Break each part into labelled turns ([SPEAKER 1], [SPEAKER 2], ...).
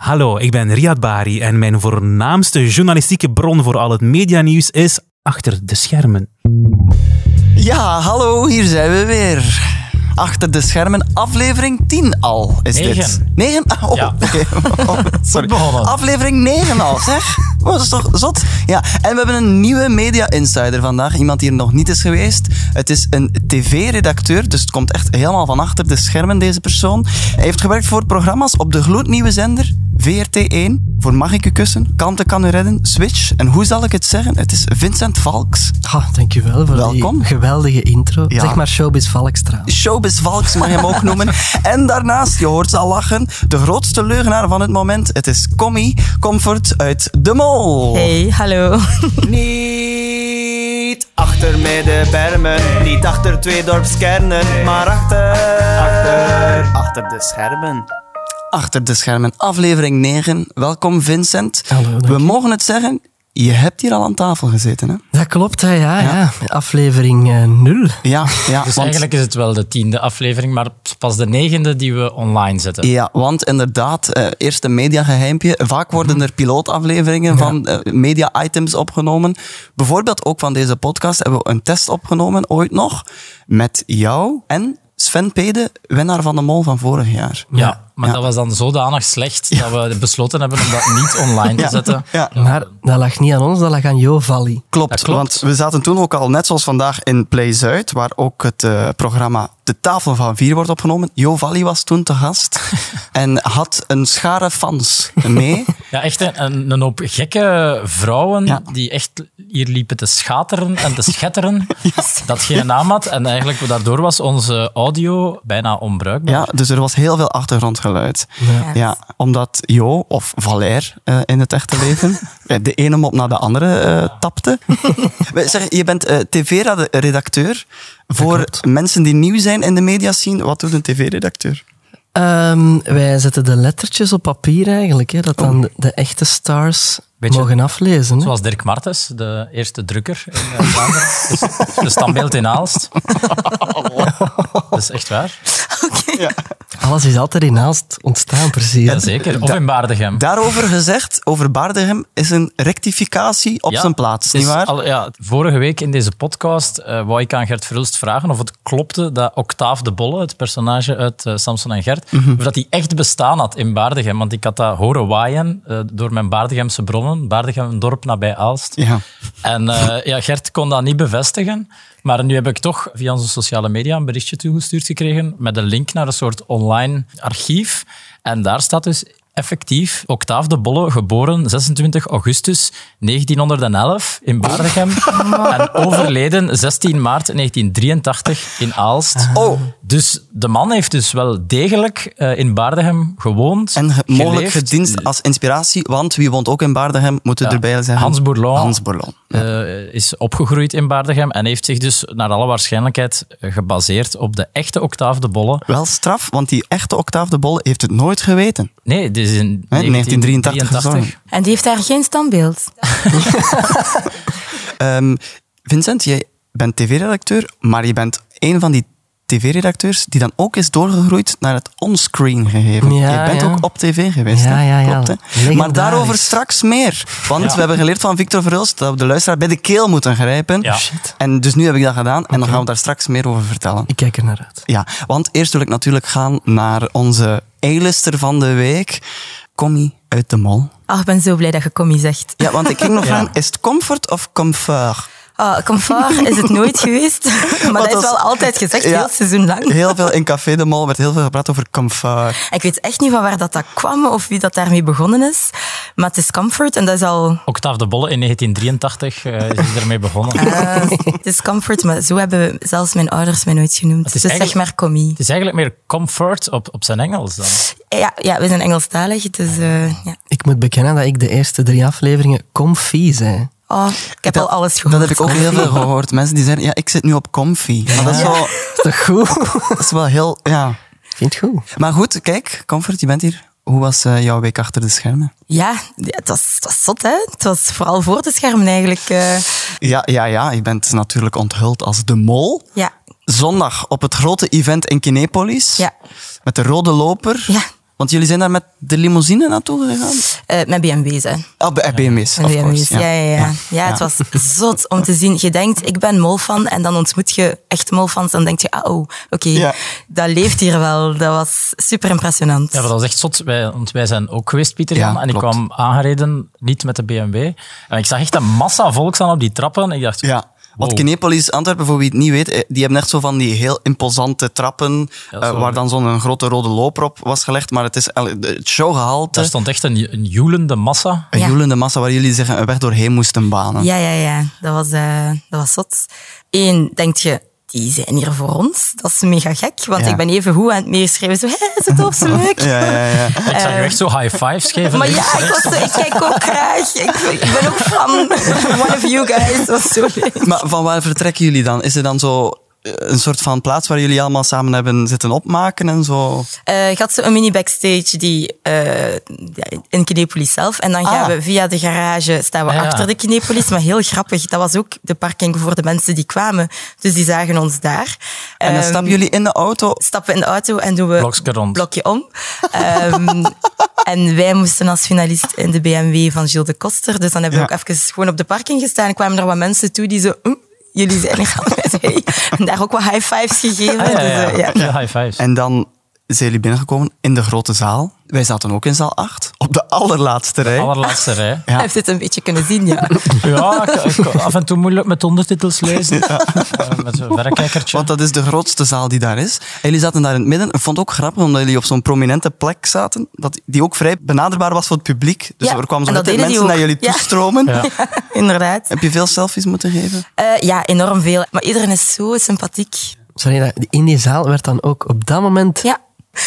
[SPEAKER 1] Hallo, ik ben Riyad Bari en mijn voornaamste journalistieke bron voor al het medianieuws is achter de schermen.
[SPEAKER 2] Ja, hallo, hier zijn we weer. Achter de schermen, aflevering 10 al is dit.
[SPEAKER 3] Negen.
[SPEAKER 2] 9? Oh,
[SPEAKER 3] Ja.
[SPEAKER 2] oké. Oh, sorry.
[SPEAKER 3] Goed begonnen.
[SPEAKER 2] Aflevering 9 al, zeg. Wow, dat is toch zot? Ja, en we hebben een nieuwe media insider vandaag. Iemand die er nog niet is geweest. Het is een tv-redacteur, dus het komt echt helemaal van achter de schermen, deze persoon. Hij heeft gewerkt voor programma's op de gloednieuwe zender VRT1. Voor Mag ik je kussen? Kanten kan u redden? Switch. En hoe zal ik het zeggen? Het is Vincent Valks.
[SPEAKER 4] Ah, dankjewel voor
[SPEAKER 2] Welkom.
[SPEAKER 4] die geweldige intro.
[SPEAKER 2] Ja.
[SPEAKER 4] Zeg maar Showbiz Valkstra.
[SPEAKER 2] Showbiz Valks mag je hem ook noemen. En daarnaast, je hoort ze al lachen, de grootste leugenaar van het moment. Het is Commie Comfort uit De Mol.
[SPEAKER 5] Hey, hallo.
[SPEAKER 6] Niet achter middenbermen, niet achter twee dorpskernen, maar achter, achter, achter de schermen.
[SPEAKER 2] Achter de schermen, aflevering 9. Welkom Vincent.
[SPEAKER 4] Hallo, dank
[SPEAKER 2] We
[SPEAKER 4] je.
[SPEAKER 2] mogen het zeggen, je hebt hier al aan tafel gezeten. Hè?
[SPEAKER 4] Dat klopt, hè, ja, ja. Aflevering eh, 0.
[SPEAKER 2] Ja, ja.
[SPEAKER 3] Dus
[SPEAKER 2] want-
[SPEAKER 3] eigenlijk is het wel de tiende aflevering, maar pas de negende die we online zetten.
[SPEAKER 2] Ja, want inderdaad, eh, eerst een mediageheimpje. Vaak worden
[SPEAKER 3] Mhm.
[SPEAKER 2] er pilootafleveringen van eh, media-items opgenomen. Bijvoorbeeld ook van deze podcast hebben we een test opgenomen, ooit nog, met jou en Sven Pede, winnaar van de Mol van vorig jaar.
[SPEAKER 3] Ja, maar
[SPEAKER 2] Ja.
[SPEAKER 3] dat was dan zodanig slecht dat we besloten hebben om dat niet online te
[SPEAKER 2] Ja,
[SPEAKER 3] zetten.
[SPEAKER 2] ja.
[SPEAKER 4] Maar dat lag niet aan ons, dat lag aan Jo Valli.
[SPEAKER 2] Klopt,
[SPEAKER 3] Dat klopt.
[SPEAKER 2] want we zaten toen ook al, net zoals vandaag, in Play Zuid, waar ook het eh, programma De Tafel van Vier wordt opgenomen. Jo Valli was toen te gast en had een schare fans mee.
[SPEAKER 3] Ja, echt een, een, een hoop gekke vrouwen
[SPEAKER 2] Ja.
[SPEAKER 3] die echt hier liepen te schateren en te schetteren. Dat geen naam had. En eigenlijk daardoor was onze audio bijna onbruikbaar.
[SPEAKER 2] Ja, dus er was heel veel achtergrondgeluid. Ja.
[SPEAKER 5] Ja.
[SPEAKER 2] omdat Jo of Valère eh, in het echte leven eh, de ene mop naar de andere eh, tapte. We- zeg, je bent eh, tv-redacteur. Voor mensen die nieuw zijn in de media zien, wat doet een tv-redacteur?
[SPEAKER 4] Ehm, wij zetten de lettertjes op papier eigenlijk, hè, dat dan de, de echte stars
[SPEAKER 3] Beetje
[SPEAKER 4] mogen aflezen. hè.
[SPEAKER 3] Zoals Dirk Martens, de eerste drukker in eh, Vlaanderen. Dus de standbeeld in Aalst. Dat is echt waar.
[SPEAKER 4] Alles is altijd in haast ontstaan, precies.
[SPEAKER 3] Ja, zeker. Of in Baardegem.
[SPEAKER 2] Daarover gezegd, over Baardegem is een rectificatie op
[SPEAKER 3] Ja,
[SPEAKER 2] zijn plaats,
[SPEAKER 3] het is
[SPEAKER 2] nietwaar?
[SPEAKER 3] al- ja, vorige week in deze podcast eh wou ik aan Gert Verhulst vragen of het klopte dat Octaaf de Bolle, het personage uit eh, Samson en Gert,
[SPEAKER 2] Mhm.
[SPEAKER 3] of dat die echt bestaan had in Baardegem. Want ik had dat horen waaien eh, door mijn Baardegemse bronnen. Baardegem, een dorp nabij Aalst.
[SPEAKER 2] Ja.
[SPEAKER 3] En eh, ja, Gert kon dat niet bevestigen. Maar nu heb ik toch via onze sociale media een berichtje toegestuurd gekregen met een link naar een soort online archief. En daar staat dus effectief Octaaf de Bolle, geboren 26 augustus 1911 in Baardegem. En overleden 16 maart 1983 in Aalst.
[SPEAKER 2] Oh.
[SPEAKER 3] Dus de man heeft dus wel degelijk eh, in Baardegem gewoond.
[SPEAKER 2] En ge- mogelijk
[SPEAKER 3] geleefd.
[SPEAKER 2] gedienst als inspiratie, want wie woont ook in Baardegem, moeten
[SPEAKER 3] Ja,
[SPEAKER 2] erbij zeggen.
[SPEAKER 3] Hans Bourlon.
[SPEAKER 2] Hans Bourlon.
[SPEAKER 3] eh, is opgegroeid in Baardegem en heeft zich dus naar alle waarschijnlijkheid eh, gebaseerd op de echte Octaaf de Bolle.
[SPEAKER 2] Wel straf, want die echte Octaaf de Bolle heeft het nooit geweten.
[SPEAKER 3] Nee, dit is in
[SPEAKER 2] Hè, 1983 gezongen.
[SPEAKER 3] 1983.
[SPEAKER 5] En die heeft daar geen standbeeld.
[SPEAKER 2] Ehm, Vincent, jij bent tv-redacteur, maar je bent een van die tv-redacteurs die dan ook is doorgegroeid naar het onscreen gegeven.
[SPEAKER 4] Ja,
[SPEAKER 2] jij bent
[SPEAKER 4] ja.
[SPEAKER 2] ook op tv geweest.
[SPEAKER 4] Ja,
[SPEAKER 2] hè?
[SPEAKER 4] ja, ja.
[SPEAKER 2] Klopt, hè? Maar
[SPEAKER 4] Legendarisch.
[SPEAKER 2] daarover straks meer. Want
[SPEAKER 3] Ja.
[SPEAKER 2] we hebben geleerd van Victor Verhulst dat we de luisteraar bij de keel moeten grijpen.
[SPEAKER 3] Ja.
[SPEAKER 4] Shit.
[SPEAKER 2] En dus nu heb ik dat gedaan en dan gaan we daar straks meer over vertellen.
[SPEAKER 4] Ik kijk er naar uit.
[SPEAKER 2] Ja, want eerst wil ik natuurlijk gaan naar onze A-lister van de week. Commie uit de mol.
[SPEAKER 5] Oh, ik ben zo blij dat je commie zegt.
[SPEAKER 2] Ja, want ik ging nog vragen, is het comfort of comfort?
[SPEAKER 5] Oh, comfort is het nooit geweest. Maar
[SPEAKER 2] Want
[SPEAKER 5] dat is
[SPEAKER 2] als-
[SPEAKER 5] wel altijd gezegd,
[SPEAKER 2] Ja.
[SPEAKER 5] heel het seizoen lang.
[SPEAKER 2] Heel veel in Café de Mol werd heel veel gepraat over comfort.
[SPEAKER 5] Ik weet echt niet van waar dat, dat kwam of wie dat daarmee begonnen is. Maar het is comfort en dat is al...
[SPEAKER 3] Octaaf de Bolle in 1983 eh, is hij ermee begonnen.
[SPEAKER 5] eh, het is comfort, maar zo hebben zelfs mijn ouders mij nooit genoemd.
[SPEAKER 3] Het
[SPEAKER 5] Dus zeg
[SPEAKER 3] is eigenlijk-
[SPEAKER 5] maar commie.
[SPEAKER 3] Het is eigenlijk meer comfort op, op zijn Engels dan.
[SPEAKER 5] Eh, Ja, ja, we zijn Engelstalig, dus eh, ja.
[SPEAKER 4] Ik moet bekennen dat ik de eerste drie afleveringen comfy zei.
[SPEAKER 5] Oh, ik heb al alles gehoord.
[SPEAKER 2] Dat heb ik ook heel veel gehoord. Mensen die zeggen, ja, ik zit nu op comfy. Maar dat is wel,
[SPEAKER 4] Is toch goed?
[SPEAKER 2] dat is wel heel, ja.
[SPEAKER 4] Ik vind het goed.
[SPEAKER 2] Maar goed, kijk, comfort, je bent hier. Hoe was eh, jouw week achter de schermen?
[SPEAKER 5] Ja, ja, het was, het was zot, hè. Het was vooral voor de schermen eigenlijk. eh.
[SPEAKER 2] Ja, ja, ja, je bent natuurlijk onthuld als de mol.
[SPEAKER 5] ja,
[SPEAKER 2] Zondag op het grote event in Kinepolis.
[SPEAKER 5] Ja.
[SPEAKER 2] Met de rode loper.
[SPEAKER 5] Ja.
[SPEAKER 2] Want jullie zijn daar met de limousine naartoe gegaan?
[SPEAKER 5] Eh, met BMW's, hè.
[SPEAKER 2] Ah, bij- BMW's,
[SPEAKER 5] Met
[SPEAKER 2] of
[SPEAKER 5] BMW's.
[SPEAKER 2] course.
[SPEAKER 5] Ja, ja, ja. ja. het was zot om te zien. Je denkt, ik ben molfan en dan ontmoet je echt molfans. Dan denk je, ah, oh, oké,
[SPEAKER 2] Ja.
[SPEAKER 5] dat leeft hier wel. Dat was super impressionant.
[SPEAKER 3] Ja, maar dat was echt zot, wij, want wij zijn ook geweest, Pieter Jan.
[SPEAKER 2] Ja,
[SPEAKER 3] en ik
[SPEAKER 2] klopt.
[SPEAKER 3] kwam aangereden, niet met de BMW. En ik zag echt een massa volk staan op die trappen. En ik dacht,
[SPEAKER 2] Ja. Want
[SPEAKER 3] Wow.
[SPEAKER 2] Kinepolis, Antwerpen, voor wie het niet weet, eh, die hebben echt zo van die heel imposante trappen, eh,
[SPEAKER 3] zo-
[SPEAKER 2] waar dan zo'n grote rode loper op was gelegd. Maar het is el- de- het showgehalte,
[SPEAKER 3] daar stond echt een, een joelende massa.
[SPEAKER 2] een
[SPEAKER 5] Ja.
[SPEAKER 2] joelende massa waar jullie zich een weg doorheen moesten banen.
[SPEAKER 5] Ja, ja, ja. Dat was, eh, dat was zot. Eén, denk je, die zijn hier voor ons. Dat is mega gek, want
[SPEAKER 2] Ja.
[SPEAKER 5] ik ben even goed aan het meeschrijven. Zo, hé, zo tof, zo leuk.
[SPEAKER 2] Ja, ja, ja.
[SPEAKER 3] Ik zag je echt zo high fives geven.
[SPEAKER 5] Eh. Maar
[SPEAKER 3] En
[SPEAKER 5] ja, ik, was, zo- ik kijk ook graag. Ik, ik ben ook fan. One of you guys. Dat was zo leuk.
[SPEAKER 2] Maar van waar vertrekken jullie dan? Is er dan zo eh, een soort van plaats waar jullie allemaal samen hebben zitten opmaken en zo?
[SPEAKER 5] Eh, je had zo een mini backstage die, eh, ja, in Kinepolis zelf. En dan gaan
[SPEAKER 2] Ah.
[SPEAKER 5] we via de garage staan we
[SPEAKER 3] Ah, ja.
[SPEAKER 5] achter de Kinepolis. Maar heel grappig, dat was ook de parking voor de mensen die kwamen. Dus die zagen ons daar.
[SPEAKER 2] En dan
[SPEAKER 5] Ehm,
[SPEAKER 2] stappen jullie in de auto.
[SPEAKER 5] stappen in de auto en doen we
[SPEAKER 3] Blokske rond.
[SPEAKER 5] blokje om. Ehm, en wij moesten als finalist in de BMW van Gilles de Koster. Dus dan hebben we
[SPEAKER 2] Ja.
[SPEAKER 5] ook even gewoon op de parking gestaan. En kwamen er wat mensen toe die zo... "Mm, jullie zijn er al met hey." En daar ook wat high fives gegeven.
[SPEAKER 3] Ah, ja,
[SPEAKER 5] Dus,
[SPEAKER 3] ja,
[SPEAKER 5] eh, ja.
[SPEAKER 3] ja. Ja, high fives.
[SPEAKER 2] En dan zijn jullie binnengekomen in de grote zaal. Wij zaten ook in zaal 8, op de allerlaatste rij.
[SPEAKER 3] Allerlaatste rij.
[SPEAKER 2] Ja.
[SPEAKER 5] Hij heeft het een beetje kunnen zien, ja.
[SPEAKER 3] Ja, ik, ik kon af en toe moeilijk met ondertitels lezen. Eh, met zo'n verrekijkertje.
[SPEAKER 2] Want dat is de grootste zaal die daar is. En jullie zaten daar in het midden. Ik vond het ook grappig, omdat jullie op zo'n prominente plek zaten, dat die ook vrij benaderbaar was voor het publiek. Dus
[SPEAKER 5] Ja,
[SPEAKER 2] er kwamen zo
[SPEAKER 5] en dat
[SPEAKER 2] meteen
[SPEAKER 5] deden
[SPEAKER 2] mensen
[SPEAKER 5] die
[SPEAKER 2] naar jullie
[SPEAKER 5] ook. Ja.
[SPEAKER 2] toestromen.
[SPEAKER 5] Inderdaad.
[SPEAKER 2] Heb je veel selfies moeten geven?
[SPEAKER 5] Eh, ja, enorm veel. Maar iedereen is zo sympathiek.
[SPEAKER 4] Sorry, dat- in die zaal werd dan ook op dat moment...
[SPEAKER 5] Ja.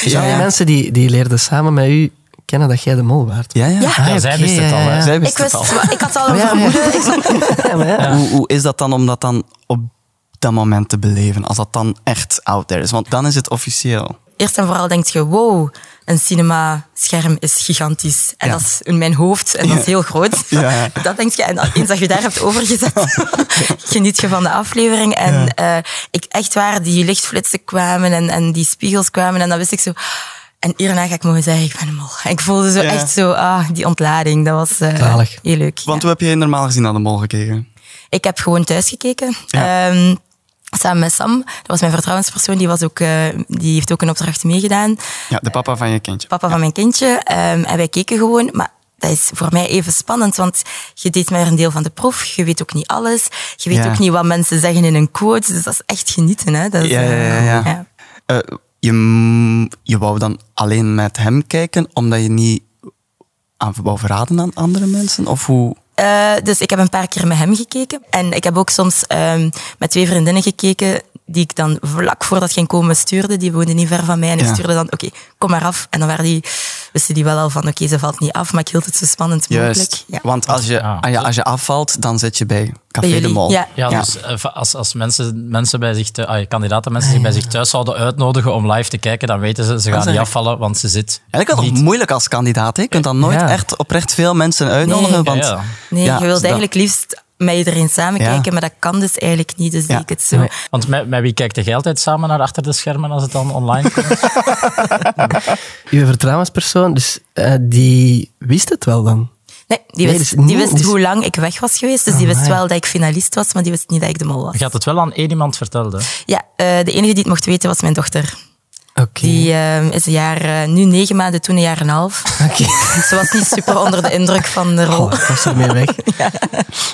[SPEAKER 4] Dus al die
[SPEAKER 2] Ja.
[SPEAKER 4] mensen die, die leerden samen met u kennen dat jij de mol waart.
[SPEAKER 2] Ja, ja.
[SPEAKER 5] Ja.
[SPEAKER 4] Ah,
[SPEAKER 3] Ja, zij
[SPEAKER 4] oké,
[SPEAKER 3] wist het
[SPEAKER 4] ja,
[SPEAKER 3] al, hè.
[SPEAKER 4] ja.
[SPEAKER 2] Zij wist
[SPEAKER 5] Ik, wist,
[SPEAKER 2] het al.
[SPEAKER 5] wel- ik had al een
[SPEAKER 4] Ja, ja.
[SPEAKER 5] vermoeden. Ik zat-
[SPEAKER 4] Ja, maar ja.
[SPEAKER 2] Hoe, hoe is dat dan om dat dan op dat moment te beleven, als dat dan echt out there is? Want dan is het officieel.
[SPEAKER 5] Eerst en vooral denk je, wow, een cinemascherm is gigantisch. En
[SPEAKER 2] Ja.
[SPEAKER 5] dat is in mijn hoofd en dat is heel groot.
[SPEAKER 2] Ja.
[SPEAKER 5] Dat denk je. En dan, eens dat je daar hebt overgezet, geniet je van de aflevering. En eh, ik echt waar, die lichtflitsen kwamen en, en die spiegels kwamen. En dan wist ik zo... En hierna ga ik mogen zeggen, ik ben een mol. En ik voelde zo
[SPEAKER 2] Ja.
[SPEAKER 5] echt zo, ah, die ontlading. Dat was eh,
[SPEAKER 4] Zalig.
[SPEAKER 5] heel leuk. ja.
[SPEAKER 2] Want hoe heb jij normaal gezien naar de mol gekeken?
[SPEAKER 5] Ik heb gewoon thuis gekeken.
[SPEAKER 2] Ja.
[SPEAKER 5] Ehm, samen met Sam, dat was mijn vertrouwenspersoon, die, was ook, eh, die heeft ook een opdracht meegedaan.
[SPEAKER 2] Ja, de papa van je kindje.
[SPEAKER 5] Papa van mijn kindje. ehm, en wij keken gewoon, maar dat is voor mij even spannend, want je deed maar een deel van de proef. Je weet ook niet alles. Je weet
[SPEAKER 2] Ja.
[SPEAKER 5] ook niet wat mensen zeggen in een quote. Dus dat is echt genieten. Hè? Dat is,
[SPEAKER 2] Ja, ja, ja,
[SPEAKER 5] eh,
[SPEAKER 2] ja. Eh, je, m- je wou dan alleen met hem kijken, omdat je niet aan wou verraden aan andere mensen? Of hoe?
[SPEAKER 5] Eh, dus ik heb een paar keer met hem gekeken. En ik heb ook soms ehm, met twee vriendinnen gekeken, die ik dan vlak voordat ging komen stuurde. Die woonden niet ver van mij. En ik
[SPEAKER 2] Ja.
[SPEAKER 5] stuurde dan, oké, kom maar af. En dan waren die, wisten die wel al van, oké, ze valt niet af. Maar ik hield het zo spannend mogelijk. Ja.
[SPEAKER 2] Want als je,
[SPEAKER 3] Ja.
[SPEAKER 2] ah ja, als je afvalt, dan zit je bij Café
[SPEAKER 5] Bij
[SPEAKER 2] de
[SPEAKER 5] jullie,
[SPEAKER 2] Mol.
[SPEAKER 5] ja.
[SPEAKER 3] Ja, dus eh, va- als, als mensen, mensen bij zich, thu- ah, Oh, kandidaten mensen zich bij zich thuis zouden uitnodigen om live te kijken, dan weten ze, ze gaan
[SPEAKER 2] zeg
[SPEAKER 3] niet
[SPEAKER 2] ik.
[SPEAKER 3] afvallen, want ze zit
[SPEAKER 2] En ik had het
[SPEAKER 3] niet.
[SPEAKER 2] ook moeilijk als kandidaat. hè. Je kunt dan nooit
[SPEAKER 4] Ja.
[SPEAKER 2] echt oprecht veel mensen uitnodigen.
[SPEAKER 5] Nee.
[SPEAKER 2] want,
[SPEAKER 3] Ja, ja.
[SPEAKER 5] Nee,
[SPEAKER 2] ja, dus
[SPEAKER 5] je wilt
[SPEAKER 2] dat-
[SPEAKER 5] eigenlijk liefst met iedereen samen
[SPEAKER 2] Ja.
[SPEAKER 5] kijken, maar dat kan dus eigenlijk niet. Dus zie ik het zo.
[SPEAKER 3] Want met, met wie kijkt jij altijd samen naar achter de schermen als het dan online komt?
[SPEAKER 4] Uw vertrouwenspersoon, dus eh, die wist het wel dan.
[SPEAKER 5] Nee, die
[SPEAKER 4] Nee,
[SPEAKER 5] wist,
[SPEAKER 4] dus-
[SPEAKER 5] die
[SPEAKER 4] nee,
[SPEAKER 5] wist
[SPEAKER 4] dus-
[SPEAKER 5] hoe lang ik weg was geweest. Dus die
[SPEAKER 2] Ah,
[SPEAKER 5] wist
[SPEAKER 4] Amai.
[SPEAKER 5] wel dat ik finalist was, maar die wist niet dat ik de mol was.
[SPEAKER 3] Je had het wel aan één iemand verteld, hè?
[SPEAKER 5] Ja, eh, de enige die het mocht weten was mijn dochter.
[SPEAKER 4] Oké.
[SPEAKER 5] Die eh, is een jaar, eh, nu negen maanden, toen een jaar en een half. Dus
[SPEAKER 4] Oké.
[SPEAKER 5] Ze was niet super onder de indruk van de rol.
[SPEAKER 4] Oh, ik was ermee weg.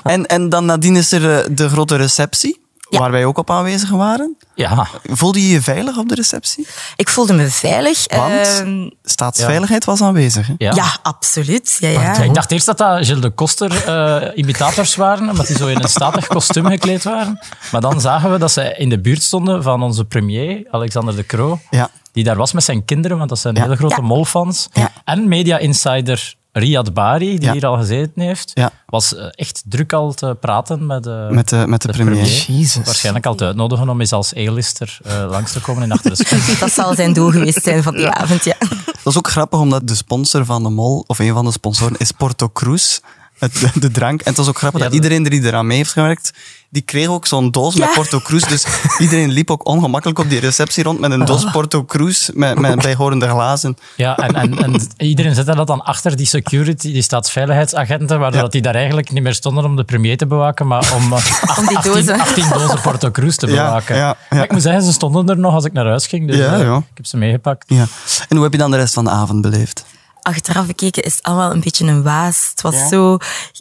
[SPEAKER 2] En, en dan nadien is er eh, de grote receptie, waar wij ook op aanwezig waren.
[SPEAKER 3] Ja.
[SPEAKER 2] Voelde je je veilig op de receptie?
[SPEAKER 5] Ik voelde me veilig.
[SPEAKER 2] Want
[SPEAKER 5] Ehm,
[SPEAKER 2] staatsveiligheid was aanwezig. hè.
[SPEAKER 3] Ja.
[SPEAKER 5] ja. absoluut. Ja,
[SPEAKER 3] Ja,
[SPEAKER 5] ja.
[SPEAKER 3] ik dacht eerst dat dat Gilles de Koster eh, imitators waren, omdat die zo in een statig kostuum gekleed waren. Maar dan zagen we dat ze in de buurt stonden van onze premier, Alexander De Croo,
[SPEAKER 2] Ja.
[SPEAKER 3] die daar was met zijn kinderen, want dat zijn
[SPEAKER 2] Ja.
[SPEAKER 3] hele grote
[SPEAKER 5] Ja.
[SPEAKER 3] molfans.
[SPEAKER 2] Ja.
[SPEAKER 3] En media-insider Riyad Bari, die
[SPEAKER 2] Ja.
[SPEAKER 3] hier al gezeten heeft,
[SPEAKER 2] Ja.
[SPEAKER 3] was eh, echt druk al te praten met, eh,
[SPEAKER 2] Met de, met de,
[SPEAKER 3] de
[SPEAKER 2] premier.
[SPEAKER 4] Jezus.
[SPEAKER 3] Waarschijnlijk al te uitnodigen om eens als A-lister eh, langs te komen in achter de schermen.
[SPEAKER 5] Dat zal zijn doel geweest zijn van die avond, ja.
[SPEAKER 2] Dat is ook grappig, omdat de sponsor van de Mol, of een van de sponsoren, is Porto Cruz. het, de, de drank. En het was ook grappig dat iedereen die eraan mee heeft gewerkt, die kreeg ook zo'n doos met
[SPEAKER 5] Ja.
[SPEAKER 2] Porto Cruz. Dus iedereen liep ook ongemakkelijk op die receptie rond met een doos Porto Cruz met, met bijhorende glazen.
[SPEAKER 3] Ja, en, en, en iedereen zette dat dan achter die security, die staatsveiligheidsagenten, waardoor dat die daar eigenlijk niet meer stonden om de premier te bewaken, maar om, eh, acht-
[SPEAKER 5] Om die
[SPEAKER 3] 18,
[SPEAKER 5] dozen.
[SPEAKER 3] 18 dozen Porto Cruz te
[SPEAKER 2] Ja,
[SPEAKER 3] bewaken.
[SPEAKER 2] ja, ja.
[SPEAKER 3] Maar ik moet zeggen, ze stonden er nog als ik naar huis ging, dus
[SPEAKER 2] Ja,
[SPEAKER 3] eh,
[SPEAKER 2] ja.
[SPEAKER 3] ik heb ze meegepakt.
[SPEAKER 2] Ja. En hoe heb je dan de rest van de avond beleefd?
[SPEAKER 5] achteraf bekeken is het allemaal een beetje een waas. Het was zo,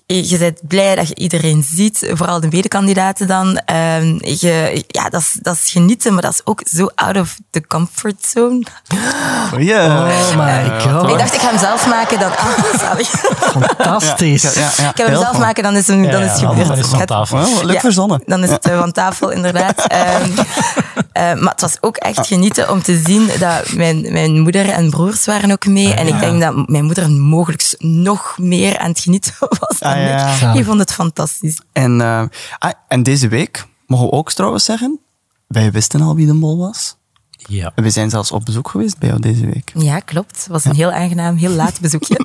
[SPEAKER 5] je je bent blij dat je iedereen ziet, vooral de medekandidaten dan. Ehm, je, ja, dat is, dat is genieten, maar dat is ook zo out of the comfort zone.
[SPEAKER 2] Ja.
[SPEAKER 4] Oh my
[SPEAKER 5] ik
[SPEAKER 4] god,
[SPEAKER 5] dacht, ik ga hem zelf maken, dan... Ah, sorry.
[SPEAKER 4] fantastisch.
[SPEAKER 2] Ja, ja,
[SPEAKER 5] Ik ga hem
[SPEAKER 2] heel
[SPEAKER 5] zelf
[SPEAKER 2] goed.
[SPEAKER 5] maken, dan is, hem, dan is het
[SPEAKER 3] ja,
[SPEAKER 5] gebeurd.
[SPEAKER 3] dan is het
[SPEAKER 5] Het
[SPEAKER 3] aan
[SPEAKER 5] gaat-
[SPEAKER 3] tafel.
[SPEAKER 2] Wel, Oh, leuk
[SPEAKER 5] Ja,
[SPEAKER 2] verzonnen.
[SPEAKER 5] Dan is het eh, van tafel, inderdaad. Ehm, eh, maar het was ook echt genieten om te zien dat mijn, mijn moeder en broers waren ook mee. en ik denk dat mijn moeder mogelijk nog meer aan het genieten was dan
[SPEAKER 2] Ah, ja.
[SPEAKER 5] ik. Die vond het fantastisch.
[SPEAKER 2] En, eh, ah, en deze week, mogen we ook trouwens zeggen, wij wisten al wie de mol was.
[SPEAKER 3] Ja.
[SPEAKER 2] We zijn zelfs op bezoek geweest bij jou deze week.
[SPEAKER 5] Ja, klopt. Het was een heel aangenaam, heel laat bezoekje.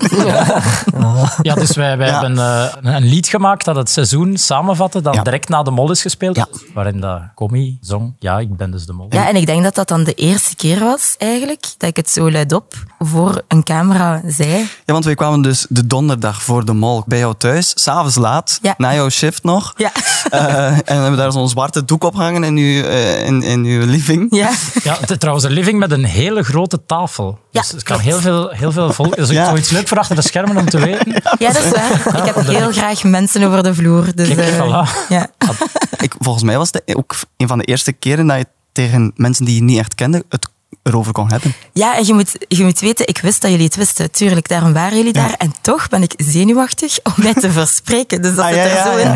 [SPEAKER 3] Ja, dus wij, wij
[SPEAKER 2] Ja.
[SPEAKER 3] hebben eh, een lied gemaakt dat het seizoen samenvatte, dat
[SPEAKER 2] Ja.
[SPEAKER 3] direct na de mol is gespeeld,
[SPEAKER 2] Ja.
[SPEAKER 3] waarin dat Comi zong, ja, ik ben dus de mol.
[SPEAKER 5] Ja, en ik denk dat dat dan de eerste keer was eigenlijk, dat ik het zo luidop voor een camera zei.
[SPEAKER 2] Ja, want wij kwamen dus de donderdag voor de mol bij jou thuis, s'avonds laat,
[SPEAKER 5] Ja.
[SPEAKER 2] na jouw shift nog.
[SPEAKER 5] Ja.
[SPEAKER 2] Eh, en hebben daar zo'n zwarte doek op hangen in uw, eh, in, in uw living.
[SPEAKER 5] Ja,
[SPEAKER 3] Ja, het is trouwens een living met een hele grote tafel.
[SPEAKER 5] Ja,
[SPEAKER 3] dus het kan
[SPEAKER 5] klopt.
[SPEAKER 3] heel veel, heel veel volk. dus Dat is ook
[SPEAKER 2] Ja.
[SPEAKER 3] zoiets leuk voor achter de schermen om te weten.
[SPEAKER 5] ja dat is waar. Ik heb heel graag mensen over de vloer. Dus,
[SPEAKER 3] Kijk,
[SPEAKER 5] eh,
[SPEAKER 3] voilà.
[SPEAKER 5] ja.
[SPEAKER 2] Ik, volgens mij was het ook een van de eerste keren dat je tegen mensen die je niet echt kende het erover kon hebben.
[SPEAKER 5] Ja, en je moet, je moet weten, ik wist dat jullie het wisten. Tuurlijk, daarom waren jullie daar. En toch ben ik zenuwachtig om mij te verspreken. Dus dat
[SPEAKER 2] Ah,
[SPEAKER 5] zit er zo in.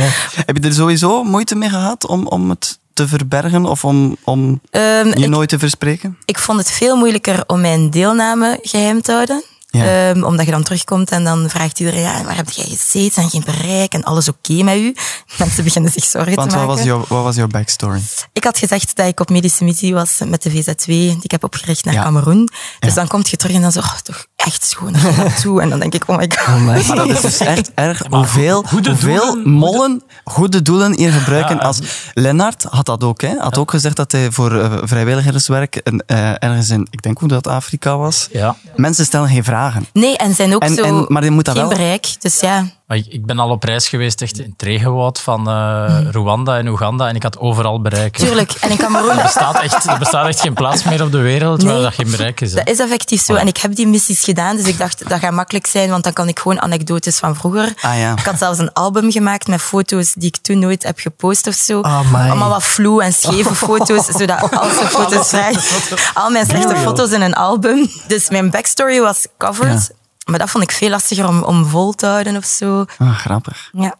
[SPEAKER 2] Heb je er sowieso moeite mee gehad om, om het te verbergen of om, om
[SPEAKER 5] Ehm,
[SPEAKER 2] je
[SPEAKER 5] ik,
[SPEAKER 2] nooit te verspreken?
[SPEAKER 5] ik vond het veel moeilijker om mijn deelname geheim te houden.
[SPEAKER 2] Ja.
[SPEAKER 5] Ehm, omdat je dan terugkomt en dan vraagt iedereen, ja, waar heb jij gezeten en geen bereik en alles oké met u? Mensen beginnen zich zorgen
[SPEAKER 2] Want
[SPEAKER 5] te
[SPEAKER 2] wat
[SPEAKER 5] maken.
[SPEAKER 2] was, jouw, wat was jouw backstory?
[SPEAKER 5] Ik had gezegd dat ik op medische missie was met de VZW, die ik heb opgericht naar
[SPEAKER 2] Ja.
[SPEAKER 5] Cameroen. Dus
[SPEAKER 2] Ja.
[SPEAKER 5] dan kom je terug en dan zo, oh, toch echt schoon naar naartoe. En dan denk ik, oh my god.
[SPEAKER 2] Maar dat is dus echt erg
[SPEAKER 3] maar
[SPEAKER 2] hoeveel,
[SPEAKER 3] goede
[SPEAKER 2] hoeveel
[SPEAKER 3] doelen-
[SPEAKER 2] mollen goede doelen hier gebruiken.
[SPEAKER 3] Ja,
[SPEAKER 2] als Lennart had dat ook. Hè? Had ook gezegd dat hij voor eh, vrijwilligerswerk en, eh, ergens in, ik denk hoe dat Afrika was.
[SPEAKER 3] Ja.
[SPEAKER 2] Mensen stellen geen vragen.
[SPEAKER 5] Nee, en zijn ook
[SPEAKER 2] En-
[SPEAKER 5] zo
[SPEAKER 2] en- maar je moet dat
[SPEAKER 5] geen
[SPEAKER 2] wel-
[SPEAKER 5] bereik. Dus ja,
[SPEAKER 3] Maar ik, ik ben al op reis geweest echt in het regenwoud van eh, Rwanda en Oeganda en ik had overal bereik.
[SPEAKER 5] Mm. tuurlijk. En in Cameroen,
[SPEAKER 3] Er bestaat, echt, er bestaat echt geen plaats meer op de wereld waar
[SPEAKER 5] Nee.
[SPEAKER 3] dat geen bereik is. hè. Ah.
[SPEAKER 5] dat is effectief zo. En ik heb die missies gedaan, dus ik dacht, dat gaat makkelijk zijn, want dan kan ik gewoon anekdotes van vroeger.
[SPEAKER 2] Ah, ja.
[SPEAKER 5] Ik had zelfs een album gemaakt met foto's die ik toen nooit heb gepost of zo.
[SPEAKER 2] Oh,
[SPEAKER 4] Amai.
[SPEAKER 5] Allemaal wat vloe en scheve foto's, zodat als de foto's vragen. Al mijn slechte foto's in een album. Dus mijn backstory was covered. Maar dat vond ik veel lastiger om, om vol te houden of zo.
[SPEAKER 2] Ah, grappig.
[SPEAKER 5] Ja.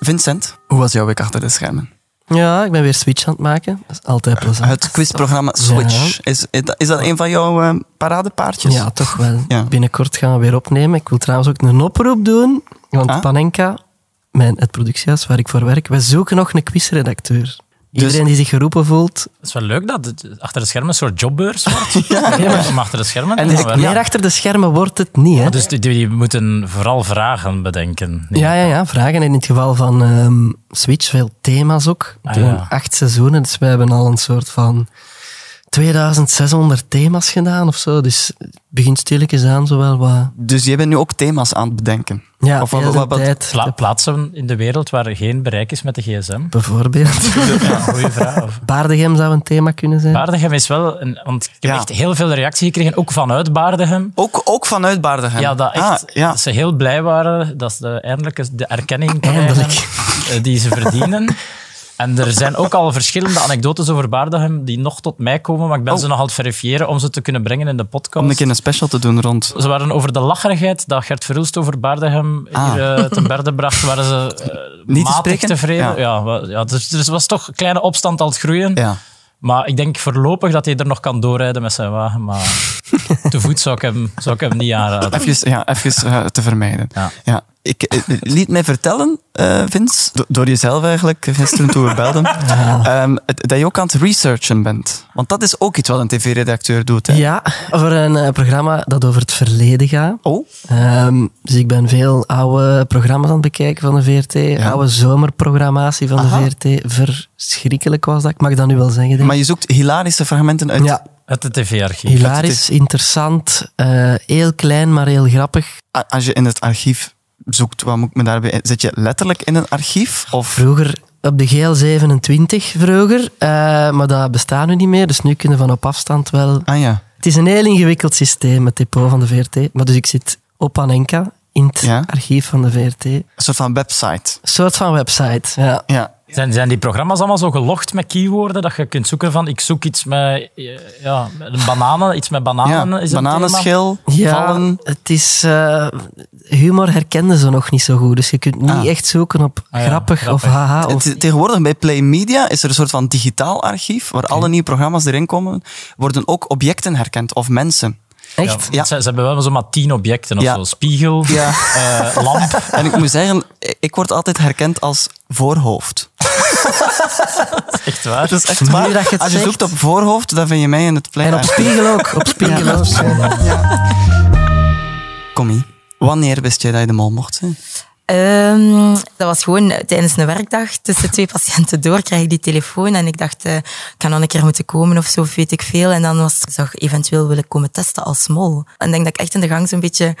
[SPEAKER 2] Vincent, hoe was jouw week achter de schermen?
[SPEAKER 4] Ja, ik ben weer Switch aan het maken. Dat is altijd plezant.
[SPEAKER 2] Het quizprogramma Switch. Is, is dat een van jouw eh, paradepaardjes?
[SPEAKER 4] Ja, toch wel.
[SPEAKER 2] Ja.
[SPEAKER 4] Binnenkort gaan we weer opnemen. Ik wil trouwens ook een oproep doen. Want
[SPEAKER 2] Ah?
[SPEAKER 4] Panenka, mijn, het productiehuis waar ik voor werk, wij zoeken nog een quizredacteur. Iedereen die zich geroepen voelt.
[SPEAKER 3] Het is wel leuk dat het achter de schermen een soort jobbeurs wordt. Om achter de schermen te
[SPEAKER 4] En
[SPEAKER 3] gaan werken.
[SPEAKER 4] meer achter de schermen wordt het niet, hè?
[SPEAKER 3] Maar Dus die, die moeten vooral vragen bedenken. Nee.
[SPEAKER 4] Ja, ja, ja. Vragen. En in het geval van ehm, Switch, veel thema's ook. We
[SPEAKER 3] Ah,
[SPEAKER 4] doen
[SPEAKER 3] ja.
[SPEAKER 4] acht seizoenen, dus wij hebben al een soort van 2600 thema's gedaan of zo. Dus het begint stilletjes aan, zowel wat...
[SPEAKER 2] Dus jij bent nu ook thema's aan het bedenken. Of
[SPEAKER 4] Ja, of
[SPEAKER 2] wat-
[SPEAKER 4] wat,
[SPEAKER 2] wat- wat-
[SPEAKER 4] tijd,
[SPEAKER 3] Pla- plaatsen in de wereld waar er geen bereik is met de gsm.
[SPEAKER 4] bijvoorbeeld.
[SPEAKER 3] Ja, goeie vraag. Of-
[SPEAKER 4] Baardegem zou een thema kunnen zijn.
[SPEAKER 3] Baardegem is wel... Een, want ik heb
[SPEAKER 2] Ja.
[SPEAKER 3] echt heel veel reactie gekregen, ook vanuit Baardegem.
[SPEAKER 2] Ook, ook vanuit Baardegem.
[SPEAKER 3] Ja, dat echt,
[SPEAKER 2] Ah, ja.
[SPEAKER 3] dat ze heel blij waren dat ze eindelijk eens de erkenning
[SPEAKER 4] Eindelijk.
[SPEAKER 3] krijgen eh, die ze verdienen. En er zijn ook al verschillende anekdotes over Baardegem die nog tot mij komen, maar ik ben ze nog aan het verifiëren om ze te kunnen brengen in de podcast.
[SPEAKER 2] Om een keer een special te doen rond.
[SPEAKER 3] Ze waren over de lacherigheid dat Gert Verhulst over Baardegem
[SPEAKER 2] Ah.
[SPEAKER 3] hier eh, ten berde bracht, waren ze eh,
[SPEAKER 2] Niet te
[SPEAKER 3] matig
[SPEAKER 2] spreken?
[SPEAKER 3] tevreden.
[SPEAKER 2] Ja.
[SPEAKER 3] Ja. wa- ja, dus er was toch een kleine opstand aan het groeien.
[SPEAKER 2] Ja.
[SPEAKER 3] Maar ik denk voorlopig dat hij er nog kan doorrijden met zijn wagen. Maar te voet zou ik hem, zou ik hem niet aanraden.
[SPEAKER 2] Even, ja, even eh, te vermijden. Ja.
[SPEAKER 3] Ja.
[SPEAKER 2] ik eh, liet mij vertellen, eh, Vince, do- door jezelf eigenlijk, gisteren toen we belden, ehm, het- dat je ook aan het researchen bent. Want dat is ook iets wat een tv-redacteur doet. Hè?
[SPEAKER 4] Ja, voor een eh, programma dat over het verleden gaat.
[SPEAKER 2] Oh,
[SPEAKER 4] Ehm, dus ik ben veel oude programma's aan het bekijken van de VRT. Oude zomerprogrammatie van
[SPEAKER 2] Aha.
[SPEAKER 4] de VRT. Verschrikkelijk was dat. Ik mag dat nu wel zeggen. Denk.
[SPEAKER 2] maar
[SPEAKER 4] ik.
[SPEAKER 2] je zoekt hilarische fragmenten uit.
[SPEAKER 4] ja,
[SPEAKER 3] Uit het tv-archief.
[SPEAKER 4] hilarisch, interessant. eh, heel klein, maar heel grappig.
[SPEAKER 2] A- Als je in het archief zoekt, wat moet ik me daarbij... Zit je letterlijk in een archief? Of...
[SPEAKER 4] Vroeger op de GL27 vroeger, eh, maar dat bestaat nu niet meer. Dus nu kunnen we van op afstand wel.
[SPEAKER 2] Ah ja.
[SPEAKER 4] Het is een heel ingewikkeld systeem, het depot van de VRT. Maar dus ik zit op Anenka in het
[SPEAKER 2] Ja.
[SPEAKER 4] archief van de VRT. Een
[SPEAKER 2] Een soort van website.
[SPEAKER 4] soort van website. Ja.
[SPEAKER 2] Ja.
[SPEAKER 3] Zijn, zijn die programma's allemaal zo gelogd met keywoorden dat je kunt zoeken van ik zoek iets met, eh, ja, met een bananen, iets met bananen
[SPEAKER 2] ja.
[SPEAKER 3] is een thema.
[SPEAKER 2] Bananenschil,
[SPEAKER 4] Ja,
[SPEAKER 2] vallen...
[SPEAKER 4] het is... eh, humor herkenden ze nog niet zo goed. Dus je kunt niet
[SPEAKER 2] Ah.
[SPEAKER 4] echt zoeken op
[SPEAKER 3] ja,
[SPEAKER 4] grappig,
[SPEAKER 3] grappig.
[SPEAKER 4] of haha. Of,
[SPEAKER 2] Het- tegenwoordig bij Play Media is er een soort van digitaal archief waar alle nieuwe programma's erin komen, worden ook objecten herkend of mensen.
[SPEAKER 4] echt?
[SPEAKER 2] Ja.
[SPEAKER 3] Ze, ze hebben wel zomaar tien objecten of
[SPEAKER 2] Ja.
[SPEAKER 3] zo. Spiegel,
[SPEAKER 2] Ja.
[SPEAKER 3] eh, lamp.
[SPEAKER 2] En ik moet zeggen, ik word altijd herkend als voorhoofd.
[SPEAKER 3] Echt waar.
[SPEAKER 2] Dat is echt waar.
[SPEAKER 4] Nu dat je het
[SPEAKER 2] Als je
[SPEAKER 4] zegt.
[SPEAKER 2] zoekt op voorhoofd, dan vind je mij in het Play
[SPEAKER 4] En op
[SPEAKER 2] archief.
[SPEAKER 4] spiegel ook. Op spiegel ook.
[SPEAKER 2] Kom hier. Wanneer wist jij dat je de mol mocht zijn?
[SPEAKER 5] Ehm, dat was gewoon eh, tijdens een werkdag. Tussen twee patiënten door krijg ik die telefoon. En ik dacht, eh, ik kan dan een keer moeten komen of zo, of weet ik veel. En dan was ik zag eventueel willen komen testen als mol. En ik denk dat ik echt in de gang zo'n beetje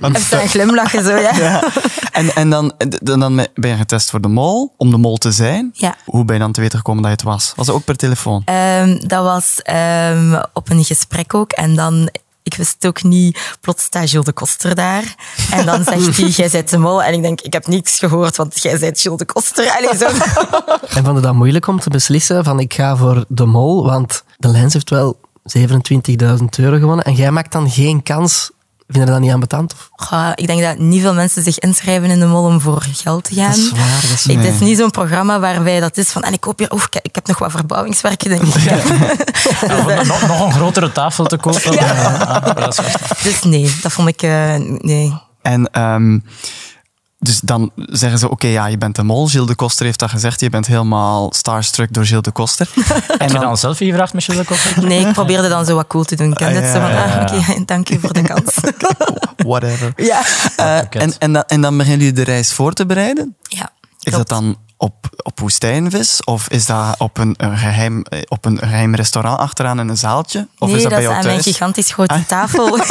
[SPEAKER 5] heb staan glimlachen. Zo, ja. Ja.
[SPEAKER 2] En, en dan, dan, dan ben je getest voor de mol, om de mol te zijn.
[SPEAKER 5] Ja.
[SPEAKER 2] Hoe ben je dan te weten gekomen dat je het was? Was dat ook per telefoon?
[SPEAKER 5] Ehm, dat was ehm, op een gesprek ook. En dan, ik wist het ook niet, plots staat Jules de Koster daar. En dan zegt hij, jij bent de mol. En ik denk, ik heb niks gehoord, want jij bent Jules de Koster. Allee, zo.
[SPEAKER 4] En vond het dan moeilijk om te beslissen van ik ga voor de mol, want de lens heeft wel 27.000 euro gewonnen en jij maakt dan geen kans. Vind je dat niet aanbetand? Of?
[SPEAKER 5] Goh, ik denk dat niet veel mensen zich inschrijven in de mol om voor geld te gaan.
[SPEAKER 4] Dat is waar, dat is
[SPEAKER 5] Ik- Het is niet zo'n programma waarbij dat is van, en ik koop hier, oef, ik, ik heb nog wat verbouwingswerken, denk ik.
[SPEAKER 3] Ja, om nog, nog een grotere tafel te kopen. Ja. dat is waar.
[SPEAKER 5] Dus nee, dat vond ik, eh, nee.
[SPEAKER 2] En ehm, dus dan zeggen ze, oké, ja, je bent de mol. Gilles de Koster heeft dat gezegd. Je bent helemaal starstruck door Gilles de Koster.
[SPEAKER 3] Heb je dan een selfie gevraagd met Jules de Koster?
[SPEAKER 5] Nee, ik probeerde dan zo wat cool te doen. Ik ken dit zo van,
[SPEAKER 2] ja,
[SPEAKER 5] ah, oké, dank u voor de kans.
[SPEAKER 2] Whatever.
[SPEAKER 5] ja.
[SPEAKER 2] Eh,
[SPEAKER 3] pakket.
[SPEAKER 2] en, en, dan, en dan beginnen jullie de reis voor te bereiden.
[SPEAKER 5] ja.
[SPEAKER 2] Is
[SPEAKER 5] klopt.
[SPEAKER 2] dat dan op, op woestijnvis? Of is dat op een, een geheim, eh, op een geheim restaurant achteraan in een zaaltje? Of
[SPEAKER 5] nee,
[SPEAKER 2] is dat, bij
[SPEAKER 5] is
[SPEAKER 2] jou
[SPEAKER 5] aan mijn
[SPEAKER 2] thuis? Ah.
[SPEAKER 5] gigantisch grote tafel. ja.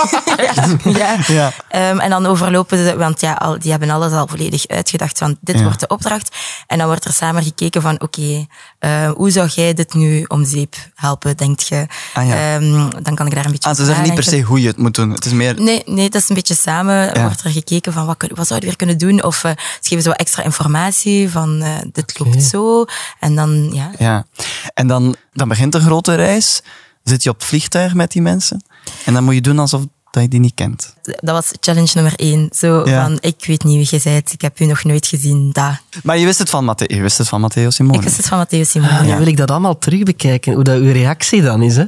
[SPEAKER 5] ja.
[SPEAKER 2] Ja.
[SPEAKER 5] Ehm, en dan overlopen ze, want ja, al, die hebben alles al volledig uitgedacht van dit
[SPEAKER 2] Ja.
[SPEAKER 5] wordt de opdracht. En dan wordt er samen gekeken van oké, eh, hoe zou jij dit nu om zeep helpen, denk je?
[SPEAKER 2] Ah, ja.
[SPEAKER 5] Ehm, dan kan ik daar een beetje
[SPEAKER 2] Ah, ze
[SPEAKER 5] over
[SPEAKER 2] zeggen niet per se
[SPEAKER 5] nadenken.
[SPEAKER 2] hoe je het moet doen. Het is meer...
[SPEAKER 5] Nee, nee, dat is een beetje samen.
[SPEAKER 2] Ja.
[SPEAKER 5] Wordt er gekeken van wat, kun- wat zouden we weer kunnen doen? Of eh, ze geven zo wat extra informatie van eh, dit loopt zo. En dan, ja,
[SPEAKER 2] Ja. En dan, dan begint de grote reis. Zit je op het vliegtuig met die mensen. En dan moet je doen alsof dat je die niet kent.
[SPEAKER 5] dat was challenge nummer één. Zo
[SPEAKER 2] Ja. Oh,
[SPEAKER 5] van, ik weet niet wie je bent, ik heb u nog nooit gezien, dat.
[SPEAKER 2] Maar je wist het van Matteo, je wist het van Matteo Simone.
[SPEAKER 5] Ik wist het van Matteo Simon.
[SPEAKER 4] Ah, Dan wil ik dat allemaal terugbekijken, hoe dat uw reactie dan is. Hè?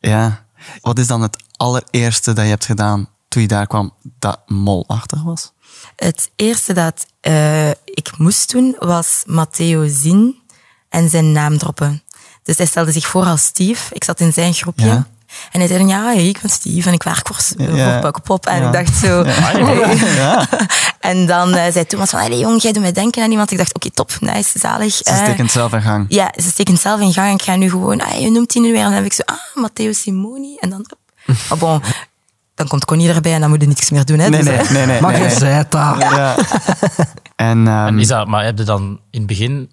[SPEAKER 2] Ja. Wat is dan het allereerste dat je hebt gedaan toen je daar kwam dat molachtig was?
[SPEAKER 5] Het eerste dat eh, ik moest doen was Matteo zien en zijn naam droppen. Dus hij stelde zich voor als Steve. Ik zat in zijn groepje.
[SPEAKER 2] Ja.
[SPEAKER 5] En hij zei dan, ja, hey, ik ben Steve en ik werk voor,
[SPEAKER 2] Ja.
[SPEAKER 5] voor Puk Pop. En
[SPEAKER 2] Ja.
[SPEAKER 5] ik dacht zo...
[SPEAKER 2] Ja.
[SPEAKER 5] En dan eh, zei Thomas van, allee jong, jij doet mij denken aan iemand. Ik dacht, oké, top, nice, zalig.
[SPEAKER 2] Ze
[SPEAKER 5] eh.
[SPEAKER 2] steken het zelf in gang.
[SPEAKER 5] ja, ze steken zelf in gang en ik ga nu gewoon, ah, je noemt die nu weer. En dan heb ik zo, ah, Matteo Simoni. En dan, maar bon, dan komt Connie erbij en dan moet je niks meer doen. Hè,
[SPEAKER 2] Nee,
[SPEAKER 5] Dus,
[SPEAKER 2] nee,
[SPEAKER 5] eh,
[SPEAKER 2] nee. nee,
[SPEAKER 4] Maar
[SPEAKER 2] nee,
[SPEAKER 4] je
[SPEAKER 2] nee.
[SPEAKER 4] zei het daar.
[SPEAKER 2] Ja. En, ehm,
[SPEAKER 3] Is dat, maar heb je dan in het begin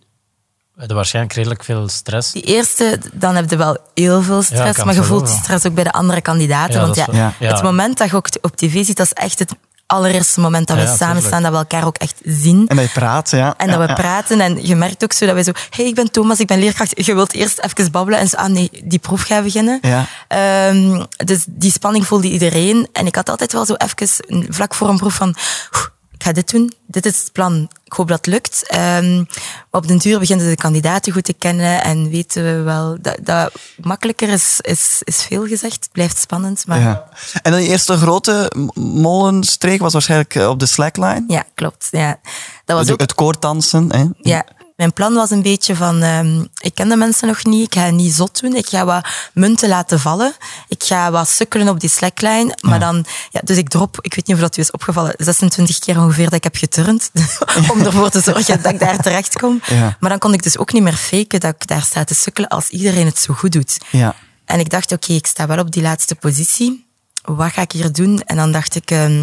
[SPEAKER 3] heb je waarschijnlijk redelijk veel stress?
[SPEAKER 5] Die eerste, dan heb je wel heel veel
[SPEAKER 3] Ja, ik
[SPEAKER 5] stress.
[SPEAKER 3] kan
[SPEAKER 5] maar je
[SPEAKER 3] het
[SPEAKER 5] voelt die
[SPEAKER 3] geloven.
[SPEAKER 5] stress ook bij de andere kandidaten.
[SPEAKER 3] Ja,
[SPEAKER 5] want ja,
[SPEAKER 3] dat is
[SPEAKER 2] wel-
[SPEAKER 3] ja.
[SPEAKER 5] het
[SPEAKER 3] Ja.
[SPEAKER 5] moment dat je ook op tv ziet, dat is echt het allereerste moment dat we
[SPEAKER 3] Ja,
[SPEAKER 5] samen
[SPEAKER 3] tuurlijk.
[SPEAKER 5] staan, dat we elkaar ook echt zien.
[SPEAKER 2] en dat je praat, ja.
[SPEAKER 5] En
[SPEAKER 2] Ja,
[SPEAKER 5] dat we
[SPEAKER 2] ja.
[SPEAKER 5] praten en je merkt ook zo dat wij zo... hey, ik ben Thomas, ik ben leerkracht. Je wilt eerst even babbelen en zo, ah nee, die proef gaat beginnen.
[SPEAKER 2] Ja.
[SPEAKER 5] Ehm, dus die spanning voelde iedereen. En ik had altijd wel zo even een- vlak voor een proef van... "Oeh, ik ga dit doen, dit is het plan, ik hoop dat het lukt. Ehm, maar op den duur beginnen de kandidaten goed te kennen en weten we wel dat, dat makkelijker is, is, is veel gezegd. Het blijft spannend, maar ja,
[SPEAKER 2] Ja. En dan je eerste grote m- molenstreek was waarschijnlijk eh, op de slackline.
[SPEAKER 5] klopt. Ja. Dat was
[SPEAKER 2] Het,
[SPEAKER 5] ook
[SPEAKER 2] het koordansen. Hè?
[SPEAKER 5] Ja, mijn plan was een beetje van, ehm, ik ken de mensen nog niet, ik ga het niet zot doen, ik ga wat munten laten vallen, ik ga wat sukkelen op die slackline, maar dan, ja, dus ik drop, ik weet niet of dat u is opgevallen, 26 keer ongeveer dat ik heb geturnd, om ervoor te zorgen dat ik daar terecht kom.
[SPEAKER 2] Ja.
[SPEAKER 5] Maar dan kon ik dus ook niet meer faken dat ik daar sta te sukkelen als iedereen het zo goed doet.
[SPEAKER 2] Ja.
[SPEAKER 5] En ik dacht, oké, ik sta wel op die laatste positie. Wat ga ik hier doen? En dan dacht ik, ehm,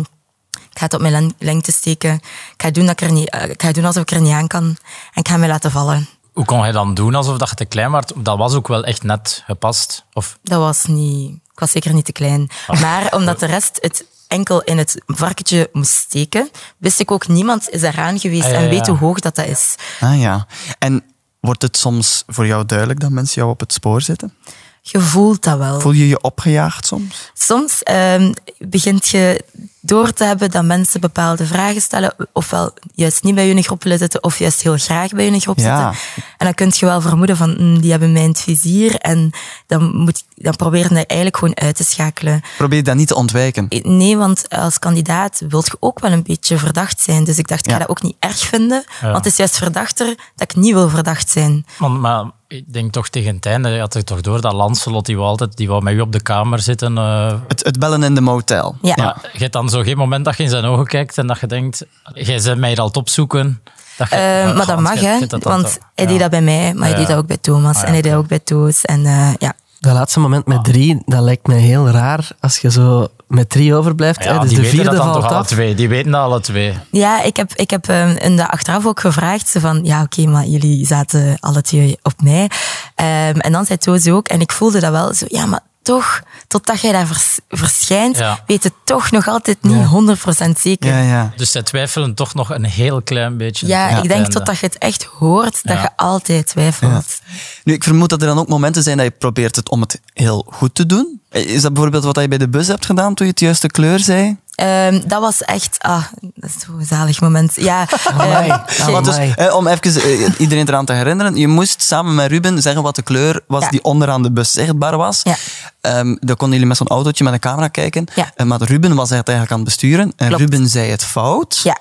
[SPEAKER 5] ik ga het op mijn len- lengte steken. Ik ga, doen dat ik, er niet, eh, ik ga doen alsof ik er niet aan kan. En ik ga mij laten vallen.
[SPEAKER 3] Hoe kon hij dan doen alsof dat je te klein was? Dat was ook wel echt net gepast. Of
[SPEAKER 5] Dat was niet... Ik was zeker niet te klein.
[SPEAKER 3] Ah.
[SPEAKER 5] Maar omdat de rest het enkel in het varkentje moest steken, wist ik ook, niemand is eraan geweest
[SPEAKER 3] Ah, ja,
[SPEAKER 5] en
[SPEAKER 3] ja,
[SPEAKER 5] weet
[SPEAKER 3] ja.
[SPEAKER 5] hoe hoog dat, dat is.
[SPEAKER 2] Ah, ja. En wordt het soms voor jou duidelijk dat mensen jou op het spoor zetten?
[SPEAKER 5] Je voelt dat wel.
[SPEAKER 2] Voel je je opgejaagd soms?
[SPEAKER 5] Soms ehm, begint je door te hebben dat mensen bepaalde vragen stellen, ofwel juist niet bij hun groep willen zitten, of juist heel graag bij hun groep
[SPEAKER 2] Ja.
[SPEAKER 5] zitten. En dan kun je wel vermoeden van, "Hmm, die hebben mij in het vizier, en dan, moet, ik- dan probeer je dat eigenlijk gewoon uit te schakelen. Eh,
[SPEAKER 2] Probeer je dat niet te ontwijken.
[SPEAKER 5] Nee, want als kandidaat wil je ook wel een beetje verdacht zijn. Dus ik dacht, ik ga
[SPEAKER 2] Ja.
[SPEAKER 5] dat ook niet erg vinden, want het is juist verdachter dat ik niet wil verdacht zijn.
[SPEAKER 3] Want, maar ik denk toch tegen het einde, je had het toch door dat Lancelot, die wou altijd die wou met u op de kamer zitten. eh,
[SPEAKER 2] Het, het bellen in de motel.
[SPEAKER 5] Ja.
[SPEAKER 3] maar je hebt dan zo geen moment dat je in zijn ogen kijkt en dat je denkt, jij bent mij hier al het opzoeken. Dat je-
[SPEAKER 5] Eh,
[SPEAKER 3] Ja,
[SPEAKER 5] maar dat
[SPEAKER 3] Hans,
[SPEAKER 5] mag,
[SPEAKER 3] je- je
[SPEAKER 5] hè?
[SPEAKER 3] hebt dat dan
[SPEAKER 5] Want
[SPEAKER 3] toch-
[SPEAKER 5] hij
[SPEAKER 3] ja.
[SPEAKER 5] deed dat bij mij, maar hij
[SPEAKER 3] Ja. Ah,
[SPEAKER 5] deed dat ook bij Thomas
[SPEAKER 3] ja,
[SPEAKER 5] en hij deed dat ook bij Toos. En eh, ja,
[SPEAKER 4] Dat laatste moment
[SPEAKER 2] Ah.
[SPEAKER 4] met drie, dat lijkt me heel raar als je zo met drie overblijft.
[SPEAKER 3] Ja,
[SPEAKER 4] hè, dus
[SPEAKER 3] die
[SPEAKER 4] de
[SPEAKER 3] weten dat
[SPEAKER 4] vierde
[SPEAKER 3] dan
[SPEAKER 4] valt
[SPEAKER 3] toch alle
[SPEAKER 4] af.
[SPEAKER 3] twee. Die weten dat alle twee.
[SPEAKER 5] Ja, ik heb, ik heb ehm, in de achteraf ook gevraagd. Ze van, ja, oké, maar jullie zaten alle twee op mij. Ehm, en dan zei Toos ook, en ik voelde dat wel zo, ja, maar toch, totdat jij daar vers- verschijnt,
[SPEAKER 3] Ja.
[SPEAKER 5] weet het toch nog altijd niet 100% zeker.
[SPEAKER 2] Ja,
[SPEAKER 5] Ja,
[SPEAKER 2] ja.
[SPEAKER 3] Dus zij twijfelen toch nog een heel klein beetje. tot
[SPEAKER 5] ik
[SPEAKER 3] het
[SPEAKER 5] denk
[SPEAKER 3] einde.
[SPEAKER 5] totdat je het echt hoort, dat
[SPEAKER 3] Ja.
[SPEAKER 5] je altijd twijfelt.
[SPEAKER 2] Nu, ik vermoed dat er dan ook momenten zijn dat je probeert het om het heel goed te doen. Is dat bijvoorbeeld wat je bij de bus hebt gedaan toen je het juiste kleur zei?
[SPEAKER 5] Ehm, dat was echt, ah, dat is zo'n zalig moment. Ja,
[SPEAKER 4] Amai,
[SPEAKER 5] ehm,
[SPEAKER 4] amai.
[SPEAKER 5] je-
[SPEAKER 2] Want dus, eh, om even eh, iedereen eraan te herinneren, je moest samen met Ruben zeggen wat de kleur was
[SPEAKER 5] Ja.
[SPEAKER 2] die onderaan de bus zichtbaar was.
[SPEAKER 5] Ja.
[SPEAKER 2] Ehm, dan konden jullie met zo'n autootje met een camera kijken.
[SPEAKER 5] Ja.
[SPEAKER 2] Eh, maar Ruben was het eigenlijk aan het besturen. En
[SPEAKER 5] Klopt.
[SPEAKER 2] Ruben zei het fout.
[SPEAKER 5] ja.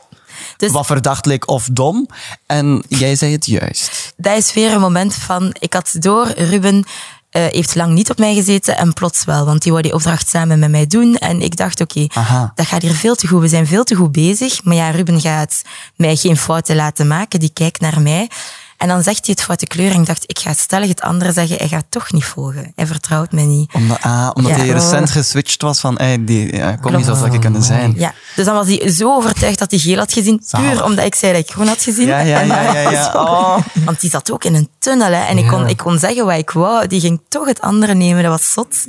[SPEAKER 5] Dus
[SPEAKER 2] Wat verdacht leek of dom. En jij zei het juist.
[SPEAKER 5] dat is weer een moment van, ik had door, Ruben eh, heeft lang niet op mij gezeten en plots wel, want die wou die opdracht samen met mij doen. En ik dacht, oké,
[SPEAKER 2] Aha.
[SPEAKER 5] dat gaat hier veel te goed, we zijn veel te goed bezig. Maar ja, Ruben gaat mij geen fouten laten maken, die kijkt naar mij. En dan zegt hij het foute kleur en ik dacht, ik ga stellig het andere zeggen, hij gaat toch niet volgen. Hij vertrouwt me niet.
[SPEAKER 2] Omdat, ah, omdat
[SPEAKER 5] Ja. Oh.
[SPEAKER 2] hij recent geswitcht was van, hey, die ja, kon niet zoals dat ik kunnen zijn.
[SPEAKER 5] Ja, dus dan was hij zo overtuigd dat hij geel had gezien, puur omdat ik zei dat ik groen had gezien.
[SPEAKER 2] Ja, ja,
[SPEAKER 5] En dan
[SPEAKER 2] ja, ja, ja.
[SPEAKER 5] was-
[SPEAKER 2] Oh.
[SPEAKER 5] Want die zat ook in een tunnel hè, en ik, kon, ik kon zeggen wat ik wou. Die ging toch het andere nemen, dat was zot.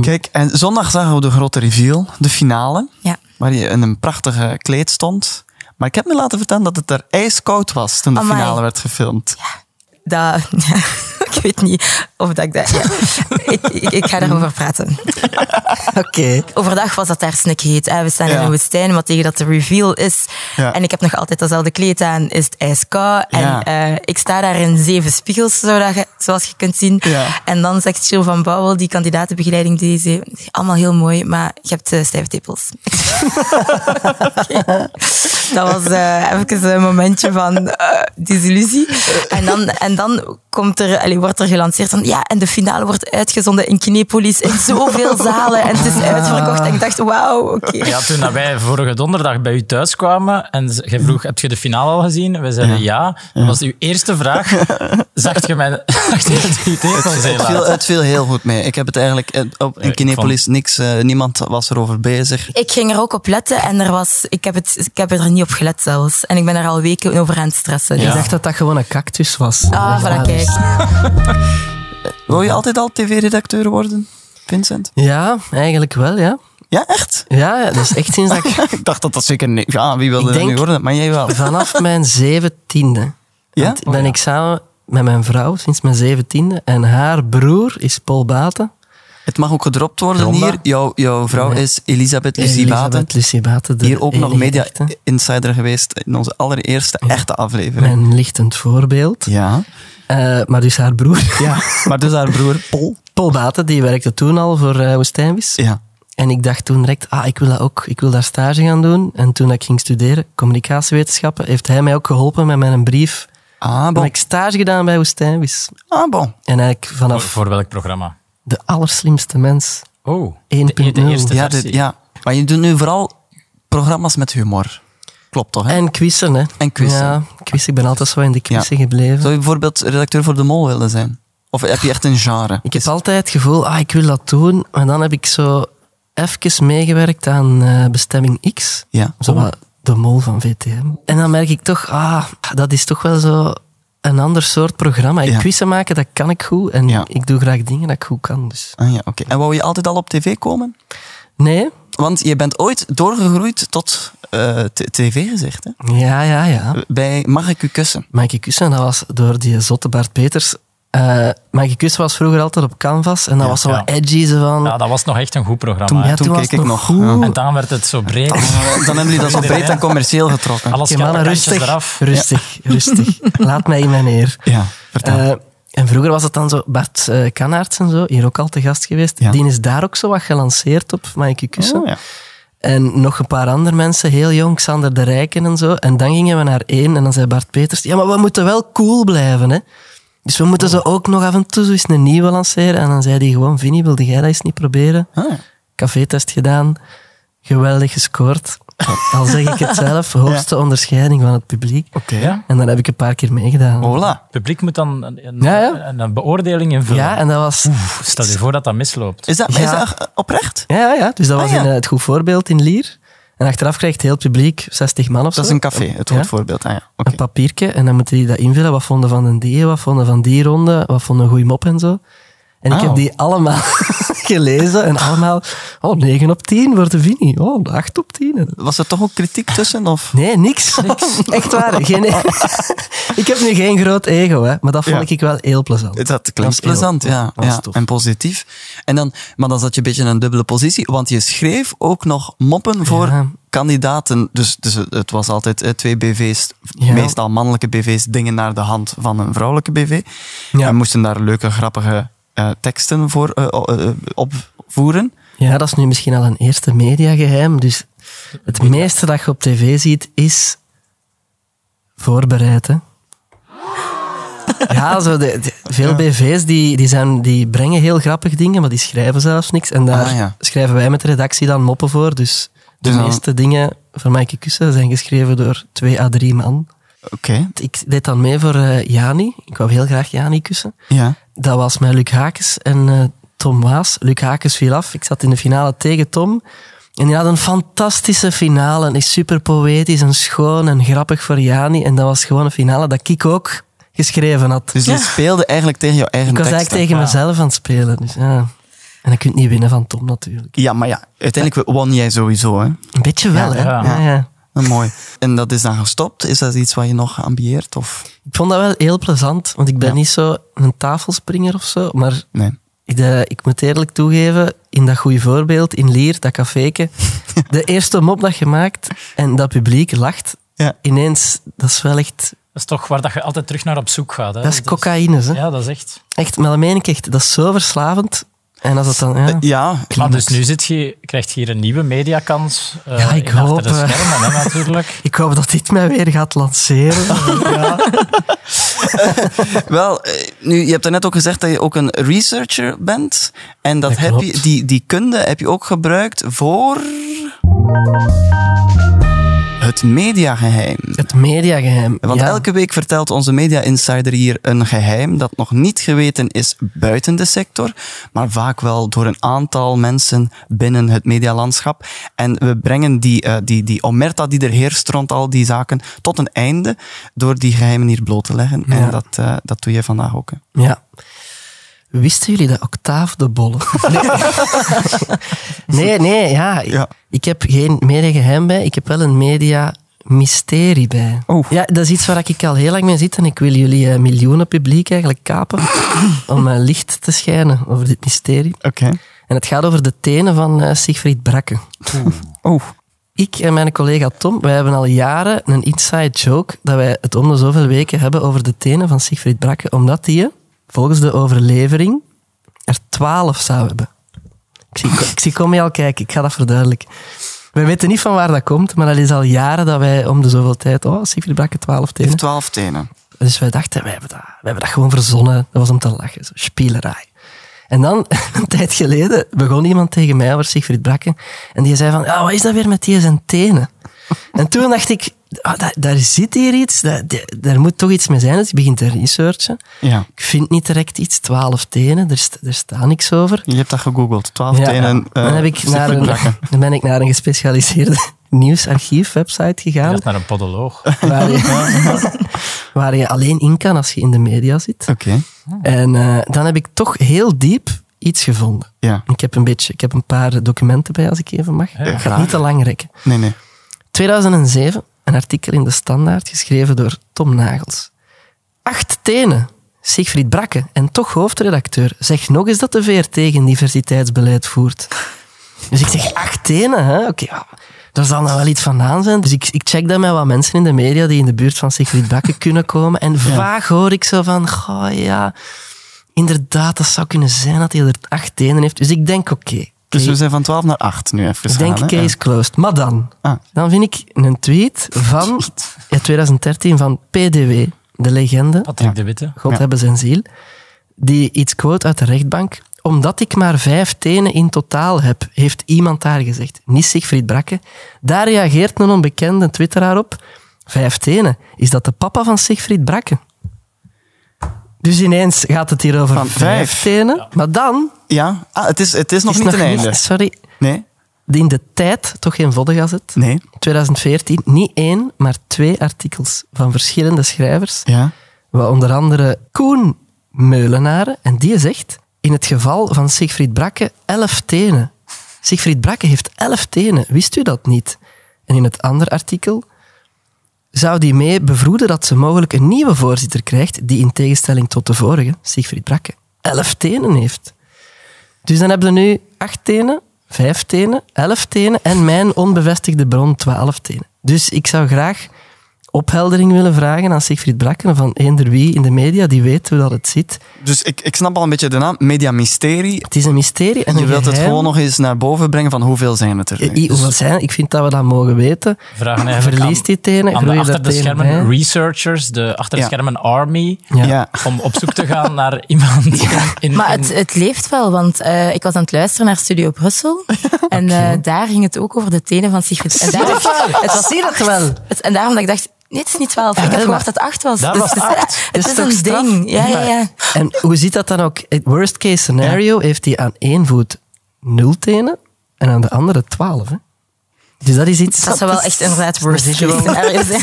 [SPEAKER 2] Kijk, en zondag zagen we de grote reveal, de finale.
[SPEAKER 5] Ja.
[SPEAKER 2] Waar je in een prachtige kleed stond. Maar ik heb me laten vertellen dat het er ijskoud was toen de
[SPEAKER 5] Amai.
[SPEAKER 2] finale werd gefilmd.
[SPEAKER 5] Dat, ik weet niet of dat ik dat... ja. ik, ik, ik ga daarover praten.
[SPEAKER 4] Oké.
[SPEAKER 5] Overdag was dat daar snikheet. hè. We staan in
[SPEAKER 2] Ja.
[SPEAKER 5] een woestijn, maar tegen dat de reveal is...
[SPEAKER 2] Ja.
[SPEAKER 5] En ik heb nog altijd datzelfde kleed aan, is het ijskoud. En
[SPEAKER 2] Ja.
[SPEAKER 5] eh, ik sta daar in zeven spiegels, zodat je- zoals je kunt zien.
[SPEAKER 2] Ja.
[SPEAKER 5] En dan zegt Jill van Bouwel, die kandidatenbegeleiding, die zei... Allemaal heel mooi, maar je hebt eh, stijve tepels. Dat was eh, even een momentje van eh, disillusie. En dan, en dan komt er, allee, wordt er gelanceerd van ja, en de finale wordt uitgezonden in Kinepolis in zoveel zalen en het is uitverkocht. En ik dacht, wauw, oké.
[SPEAKER 3] eh, Ja, toen dat wij vorige donderdag bij u thuis kwamen en ze- jij vroeg, heb je de finale al gezien? Wij zeiden ja. Dat was uw eerste vraag. Zag je mijn... Dacht je dat u het kon
[SPEAKER 2] Het viel, het viel heel goed mee. Ik heb het eigenlijk eh, op, in
[SPEAKER 3] ik
[SPEAKER 2] Kinepolis niks, eh, niemand was erover bezig.
[SPEAKER 5] Ik ging er ook op letten en er was, ik, heb het, ik heb er niet op gelet zelfs. En ik ben er al weken over aan het stressen.
[SPEAKER 4] Ik
[SPEAKER 5] Dus
[SPEAKER 4] dacht dat dat gewoon een cactus was.
[SPEAKER 5] Ah, voilà,
[SPEAKER 4] dus-
[SPEAKER 5] kijk.
[SPEAKER 2] Wil je altijd al tv-redacteur worden, Vincent?
[SPEAKER 4] Ja, eigenlijk wel, ja.
[SPEAKER 2] Ja, echt?
[SPEAKER 4] Ja, ja, dus echt sinds dat ik
[SPEAKER 2] ik dacht dat dat zeker niet... Ja, wie wilde
[SPEAKER 4] Ik
[SPEAKER 2] dat
[SPEAKER 4] denk-
[SPEAKER 2] nu worden? Maar jij wel.
[SPEAKER 4] vanaf mijn zeventiende
[SPEAKER 2] Ja?
[SPEAKER 4] ben ik samen met mijn vrouw sinds mijn zeventiende en haar broer is Paul Baten.
[SPEAKER 2] Het mag ook gedropt worden
[SPEAKER 3] Ronda?
[SPEAKER 2] hier. Jouw, jouw vrouw
[SPEAKER 4] Nee.
[SPEAKER 2] is Elisabeth Lucie Baten.
[SPEAKER 4] Elisabeth Lucie Baten, de
[SPEAKER 2] Hier ook nog
[SPEAKER 4] enige
[SPEAKER 2] media
[SPEAKER 4] echte.
[SPEAKER 2] insider geweest in onze allereerste echte aflevering.
[SPEAKER 4] Mijn lichtend voorbeeld.
[SPEAKER 2] Ja.
[SPEAKER 4] Eh, maar dus haar broer,
[SPEAKER 2] ja. Maar dus haar broer Paul.
[SPEAKER 4] Paul Baten, die werkte toen al voor eh Woestijnvis.
[SPEAKER 2] Ja.
[SPEAKER 4] En ik dacht toen direct, ah, ik wil, dat ook, ik wil daar stage gaan doen. En toen ik ging studeren, communicatiewetenschappen, heeft hij mij ook geholpen met mijn brief.
[SPEAKER 2] Ah,
[SPEAKER 4] Dan
[SPEAKER 2] bon.
[SPEAKER 4] heb ik stage gedaan bij Woestijnvis.
[SPEAKER 2] Ah, bon.
[SPEAKER 4] En eigenlijk
[SPEAKER 3] Voor,
[SPEAKER 4] vanaf
[SPEAKER 3] voor welk programma?
[SPEAKER 4] de allerslimste mens,
[SPEAKER 3] Oh, de,
[SPEAKER 4] 1.0.
[SPEAKER 3] de eerste
[SPEAKER 2] Ja,
[SPEAKER 3] versie.
[SPEAKER 2] dit, ja. Maar je doet nu vooral programma's met humor. Klopt toch, hè?
[SPEAKER 4] En quizzen, hè.
[SPEAKER 2] En quizzen.
[SPEAKER 4] Ja, quiz. Ik ben altijd zo in de quizzen gebleven.
[SPEAKER 2] Zou je bijvoorbeeld redacteur voor De Mol willen zijn? Of heb je echt een genre?
[SPEAKER 4] Ik heb altijd het gevoel, ah, ik wil dat doen. Maar dan heb ik zo even meegewerkt aan eh, bestemming X.
[SPEAKER 2] Ja.
[SPEAKER 4] Zo wat de mol van VTM. En dan merk ik toch, ah, dat is toch wel zo een ander soort programma. En
[SPEAKER 2] Ja.
[SPEAKER 4] quizzen maken, dat kan ik goed. En
[SPEAKER 2] Ja.
[SPEAKER 4] ik doe graag dingen dat ik goed kan. Dus.
[SPEAKER 2] Ah, ja, oké. En wou je altijd al op tv komen?
[SPEAKER 4] Nee?
[SPEAKER 2] Want je bent ooit doorgegroeid tot eh, t- tv-gezicht, hè?
[SPEAKER 4] Ja, ja,
[SPEAKER 2] Eh.
[SPEAKER 4] ja.
[SPEAKER 2] Bij Mag ik u kussen?
[SPEAKER 4] Maaike Kussen, dat was door die zotte Bart Peters. Eh Maaike Kussen was vroeger altijd op canvas. En dat was zo
[SPEAKER 3] ja.
[SPEAKER 4] wat edgy. Zo van,
[SPEAKER 3] Ja, dat was nog echt een goed programma.
[SPEAKER 4] toen,
[SPEAKER 3] hè.
[SPEAKER 4] ja,
[SPEAKER 2] toen
[SPEAKER 4] toen was
[SPEAKER 2] keek
[SPEAKER 4] het
[SPEAKER 2] ik
[SPEAKER 4] nog
[SPEAKER 2] nog, ja.
[SPEAKER 4] goed.
[SPEAKER 3] En dan werd het zo breed.
[SPEAKER 2] Dan hebben jullie dat zo breed en commercieel getrokken.
[SPEAKER 3] Alles
[SPEAKER 4] Oké, mannen,
[SPEAKER 3] scherpe
[SPEAKER 4] rustig,
[SPEAKER 3] kantjes eraf.
[SPEAKER 4] rustig, rustig. Laat mij in mijn eer.
[SPEAKER 2] Ja, vertel.
[SPEAKER 4] Eh, en vroeger was het dan zo, Bart eh Kanaerts en zo, hier ook al te gast geweest.
[SPEAKER 2] Ja.
[SPEAKER 4] Die is daar ook zo wat gelanceerd op, Maaike Kussen.
[SPEAKER 2] Oh, ja.
[SPEAKER 4] En nog een paar andere mensen, heel jong, Xander de Rijken en zo. En dan gingen we naar één en dan zei Bart Peters, ja, maar we moeten wel cool blijven, hè. Dus we
[SPEAKER 2] Oh.
[SPEAKER 4] moeten ze ook nog af en toe zo eens een nieuwe lanceren. En dan zei hij gewoon, Vinnie, wilde jij dat eens niet proberen?
[SPEAKER 2] Ah, ja.
[SPEAKER 4] café-test gedaan. Geweldig gescoord. Al zeg ik het zelf, hoogste onderscheiding van het publiek.
[SPEAKER 3] Ja.
[SPEAKER 4] En dan heb ik een paar keer meegedaan.
[SPEAKER 2] Voilà.
[SPEAKER 3] Het publiek moet dan een, een,
[SPEAKER 4] Ja, ja.
[SPEAKER 3] een- een beoordeling invullen.
[SPEAKER 4] Ja, en dat was...
[SPEAKER 3] Stel je voor dat dat misloopt.
[SPEAKER 2] Is dat, is
[SPEAKER 4] Ja.
[SPEAKER 2] dat eh, oprecht?
[SPEAKER 4] Ja, ja, ja. Dus dat
[SPEAKER 2] Ah,
[SPEAKER 4] was
[SPEAKER 2] ja.
[SPEAKER 4] in, eh, het goed voorbeeld in Lier. En achteraf krijgt heel het publiek, 60 man of zo.
[SPEAKER 2] Dat is een café, het
[SPEAKER 4] Ja.
[SPEAKER 2] goed voorbeeld. Ah, ja. oké.
[SPEAKER 4] Een papiertje. En dan moeten die dat invullen. Wat vonden van een die, wat vonden van die ronde, wat vonden een goede mop en zo. En ik
[SPEAKER 2] Ah.
[SPEAKER 4] heb die allemaal gelezen en allemaal... Oh, 9 op 10 voor de Vini. Oh, 8 op 10. En
[SPEAKER 2] Was er toch ook kritiek tussen? Of?
[SPEAKER 4] Nee, niks. Echt waar. Geen, ik heb nu geen groot ego, hè, maar dat vond
[SPEAKER 2] Ja.
[SPEAKER 4] ik wel heel plezant.
[SPEAKER 2] Dat
[SPEAKER 4] Dat
[SPEAKER 2] klinkt
[SPEAKER 4] was heel-
[SPEAKER 2] plezant, ja.
[SPEAKER 4] dat was
[SPEAKER 2] ja.
[SPEAKER 4] tof.
[SPEAKER 2] En positief. En dan, maar dan zat je een beetje in een dubbele positie, want je schreef ook nog moppen voor
[SPEAKER 4] Ja.
[SPEAKER 2] kandidaten. Dus, dus het was altijd eh, twee BV's,
[SPEAKER 4] Ja.
[SPEAKER 2] meestal mannelijke BV's, dingen naar de hand van een vrouwelijke BV.
[SPEAKER 4] Ja.
[SPEAKER 2] En moesten daar leuke, grappige eh, teksten voor eh, o- eh, opvoeren.
[SPEAKER 4] Ja, dat is nu misschien al een eerste mediageheim. Dus het meeste dat je op tv ziet is voorbereid. Hè. Ja, zo de, de- veel BV's die, die, zijn, die brengen heel grappig dingen, maar die schrijven zelfs niks. En daar
[SPEAKER 2] Ah, ja.
[SPEAKER 4] schrijven wij met de redactie dan moppen voor. Dus de
[SPEAKER 2] Dus dan-
[SPEAKER 4] meeste dingen van Maaike Kussen zijn geschreven door twee à drie man.
[SPEAKER 2] Oké,
[SPEAKER 4] ik deed dan mee voor eh, Jani. Ik wou heel graag Jani kussen.
[SPEAKER 2] ja.
[SPEAKER 4] Dat was met Luc Hakes en eh, Tom Waas. Luc Hakes viel af. Ik zat in de finale tegen Tom. En die had een fantastische finale. En is super poëtisch en schoon en grappig voor Jani. En dat was gewoon een finale dat ik ook geschreven had.
[SPEAKER 2] Dus je speelde eigenlijk tegen jouw eigen
[SPEAKER 4] ik was eigenlijk
[SPEAKER 2] teksten.
[SPEAKER 4] tegen mezelf aan het spelen. Dus, ja. En dan kun je niet winnen van Tom natuurlijk.
[SPEAKER 2] Ja, maar ja, uiteindelijk won jij sowieso, hè. Ah,
[SPEAKER 4] Een beetje wel,
[SPEAKER 3] Ja,
[SPEAKER 4] hè?
[SPEAKER 3] ja.
[SPEAKER 4] Ja, ja.
[SPEAKER 2] Mooi. En dat is dan gestopt? Is dat iets wat je nog ambieert? Of?
[SPEAKER 4] Ik vond dat wel heel plezant. Want ik ben
[SPEAKER 2] Ja.
[SPEAKER 4] niet zo een tafelspringer of zo. Maar
[SPEAKER 2] Nee.
[SPEAKER 4] Ik, eh, ik moet eerlijk toegeven, in dat goede voorbeeld, in Lier, dat caféke, de eerste mop dat je maakt en dat publiek lacht,
[SPEAKER 2] Ja.
[SPEAKER 4] ineens, dat is wel echt...
[SPEAKER 3] Dat is toch waar dat je altijd terug naar op zoek gaat. Hè?
[SPEAKER 4] Dat is cocaïne, hè.
[SPEAKER 3] dus- Ja, dat is echt.
[SPEAKER 4] Echt, maar dat meen ik echt, dat is zo verslavend. En als dat dan...
[SPEAKER 2] Eh,
[SPEAKER 4] Ja,
[SPEAKER 2] Ja,
[SPEAKER 3] Maar dus nu zit je, krijg je hier een nieuwe mediakans. eh,
[SPEAKER 4] Ja, ik
[SPEAKER 3] in achter
[SPEAKER 4] hoop,
[SPEAKER 3] de
[SPEAKER 4] eh.
[SPEAKER 3] schermen, hè, natuurlijk.
[SPEAKER 4] Ik hoop dat dit mij weer gaat
[SPEAKER 2] Ah.
[SPEAKER 4] lanceren.
[SPEAKER 2] Wel, eh, nu, je hebt net ook gezegd dat je ook een researcher bent. En dat
[SPEAKER 4] Dat
[SPEAKER 2] heb je,
[SPEAKER 4] klopt.
[SPEAKER 2] die, die kunde heb je ook gebruikt voor. Het mediageheim.
[SPEAKER 4] Het mediageheim.
[SPEAKER 2] Want
[SPEAKER 4] ja.
[SPEAKER 2] elke week vertelt onze media insider hier een geheim dat nog niet geweten is buiten de sector, maar vaak wel door een aantal mensen binnen het medialandschap. En we brengen die, eh, die, die omerta die er heerst rond al die zaken tot een einde door die geheimen hier bloot te leggen. En
[SPEAKER 4] Ja.
[SPEAKER 2] dat, eh, dat doe je vandaag ook. hè.
[SPEAKER 4] Ja. Wisten jullie dat Octaaf de Bolle... Nee, nee, nee, ja.
[SPEAKER 2] Ja.
[SPEAKER 4] Ik heb geen media-geheim bij, ik heb wel een media-mysterie bij.
[SPEAKER 2] Oeh.
[SPEAKER 4] Ja, dat is iets waar ik al heel lang mee zit en ik wil jullie eh, miljoenen publiek eigenlijk kapen om eh, licht te schijnen over dit mysterie.
[SPEAKER 2] Oké.
[SPEAKER 4] En het gaat over de tenen van eh, Siegfried Brakke.
[SPEAKER 2] Oeh.
[SPEAKER 4] Ik en mijn collega Tom, wij hebben al jaren een inside joke dat wij het om de zoveel weken hebben over de tenen van Siegfried Brakke, omdat die, volgens de overlevering, er twaalf zou hebben. Ik zie, ik zie kom je al kijken, ik ga dat verduidelijken. We weten niet van waar dat komt, maar dat is al jaren dat wij om de zoveel tijd... Oh, Siegfried Brakke, twaalf
[SPEAKER 2] Die
[SPEAKER 4] tenen.
[SPEAKER 2] heeft twaalf tenen.
[SPEAKER 4] Dus wij dachten, wij hebben, dat, wij hebben dat gewoon verzonnen. Dat was om te lachen, zo spielerij. En dan, een tijd geleden, begon iemand tegen mij over Siegfried Brakke. En die zei van, ja, wat is dat weer met die zijn tenen? En toen dacht ik, ah, da- daar zit hier iets, da- de- daar moet toch iets mee zijn. Dus ik begin te researchen.
[SPEAKER 2] Ja.
[SPEAKER 4] Ik vind niet direct iets, twaalf tenen, er, st- er staat niks over.
[SPEAKER 2] Je hebt dat gegoogeld. Twaalf tenen. eh,
[SPEAKER 4] dan, heb ik naar een,
[SPEAKER 2] Brakke.
[SPEAKER 4] dan ben ik naar een gespecialiseerde nieuwsarchief website
[SPEAKER 3] Je
[SPEAKER 4] gegaan,
[SPEAKER 3] gaat naar een podoloog.
[SPEAKER 4] waar je, waar je alleen in kan als je in de media zit.
[SPEAKER 2] Oké.
[SPEAKER 4] En eh, dan heb ik toch heel diep iets gevonden.
[SPEAKER 2] Ja.
[SPEAKER 4] Ik heb een beetje, ik heb een paar documenten bij als ik even mag. Ik ga het niet te lang rekken.
[SPEAKER 2] Nee, nee.
[SPEAKER 4] 2007, een artikel in de Standaard geschreven door Tom Nagels. Acht tenen. Siegfried Brakke en toch hoofdredacteur. Zeg nog eens dat de VRT geen diversiteitsbeleid voert. Dus ik zeg acht tenen, hè? Oké, ja, daar zal nou wel iets van aan zijn. Dus ik, ik check dat met wat mensen in de media die in de buurt van Siegfried Brakke kunnen komen. En vaag hoor ik zo van, goh ja, inderdaad, dat zou kunnen zijn dat hij er acht tenen heeft. Dus ik denk, oké.
[SPEAKER 2] Dus
[SPEAKER 4] Kees-
[SPEAKER 2] we zijn van 12 naar 8 nu even
[SPEAKER 4] ik denk eh,
[SPEAKER 2] gegaan, hè?
[SPEAKER 4] case closed. Maar dan,
[SPEAKER 2] Ah.
[SPEAKER 4] dan vind ik een tweet van ja, 2013 van PDW, de legende,
[SPEAKER 3] Patrick de Witte.
[SPEAKER 4] God hebben zijn ziel, die iets quote uit de rechtbank. Omdat ik maar vijf tenen in totaal heb, heeft iemand daar gezegd. Niet Siegfried Brakke. Daar reageert een onbekende twitteraar op. Vijf tenen, is dat de papa van Siegfried Brakke? Dus ineens gaat het hier over
[SPEAKER 2] Van
[SPEAKER 4] vijf.
[SPEAKER 2] vijf.
[SPEAKER 4] tenen. Maar dan...
[SPEAKER 2] Ja. Ah, het is, het is nog
[SPEAKER 4] is
[SPEAKER 2] niet een einde.
[SPEAKER 4] Sorry,
[SPEAKER 2] Nee?
[SPEAKER 4] in de tijd toch geen voddengazzet.
[SPEAKER 2] Nee?
[SPEAKER 4] 2014 niet één, maar twee artikels van verschillende schrijvers.
[SPEAKER 2] Ja.
[SPEAKER 4] Waar onder andere Koen Meulenaren. En die zegt, in het geval van Siegfried Brakke, elf tenen. Siegfried Brakke heeft elf tenen. Wist u dat niet? En in het andere artikel zou die mee bevroeden dat ze mogelijk een nieuwe voorzitter krijgt die in tegenstelling tot de vorige, Siegfried Brakke, elf tenen heeft. Dus dan hebben we nu acht tenen, vijf tenen, elf tenen en mijn onbevestigde bron twaalf tenen. Dus ik zou graag opheldering willen vragen aan Siegfried Brakken van eender wie in de media die weet hoe dat het zit.
[SPEAKER 2] Dus ik, ik snap al een beetje de naam. Media Mysterie.
[SPEAKER 4] Het is een mysterie en
[SPEAKER 2] Je
[SPEAKER 4] een
[SPEAKER 2] wilt het
[SPEAKER 4] geheim.
[SPEAKER 2] gewoon nog eens naar boven brengen van hoeveel zijn het er nu?
[SPEAKER 4] Eh, i- Hoeveel zijn? Ik vind dat we dat mogen weten.
[SPEAKER 3] Vragen eigenlijk
[SPEAKER 4] Verlies
[SPEAKER 3] aan-
[SPEAKER 4] die tenen,
[SPEAKER 3] aan de
[SPEAKER 4] groeien daar
[SPEAKER 3] achter de
[SPEAKER 4] tenen
[SPEAKER 3] schermen
[SPEAKER 4] bij?
[SPEAKER 3] researchers, de achter de
[SPEAKER 2] Ja.
[SPEAKER 3] schermen army,
[SPEAKER 4] Ja.
[SPEAKER 2] Ja.
[SPEAKER 3] om op zoek te gaan naar iemand in,
[SPEAKER 5] Maar
[SPEAKER 3] in-
[SPEAKER 5] het, het leeft wel, want eh, ik was aan het luisteren naar Studio Brussel. En eh, daar ging het ook over de tenen van Sigrid. En daar, het was
[SPEAKER 4] Zie dat wel?
[SPEAKER 5] het- en daarom dat ik dacht, nee, het is niet twaalf. ik
[SPEAKER 4] wel,
[SPEAKER 5] heb
[SPEAKER 4] maar-
[SPEAKER 5] gehoord dat het acht was. Dus
[SPEAKER 3] Daar was
[SPEAKER 4] Ah,
[SPEAKER 5] het is,
[SPEAKER 3] acht.
[SPEAKER 5] Het
[SPEAKER 4] Dat
[SPEAKER 5] is,
[SPEAKER 4] is toch
[SPEAKER 5] een
[SPEAKER 4] straf? Ah.
[SPEAKER 5] ding. Ja, ja, ja.
[SPEAKER 4] En hoe zit dat dan ook? Het worst case scenario heeft hij aan één voet nul tenen en aan de andere twaalf. Hè? Dus dat is iets...
[SPEAKER 5] Dat zou wel echt inderdaad worst
[SPEAKER 4] dat is
[SPEAKER 5] case scenario zijn.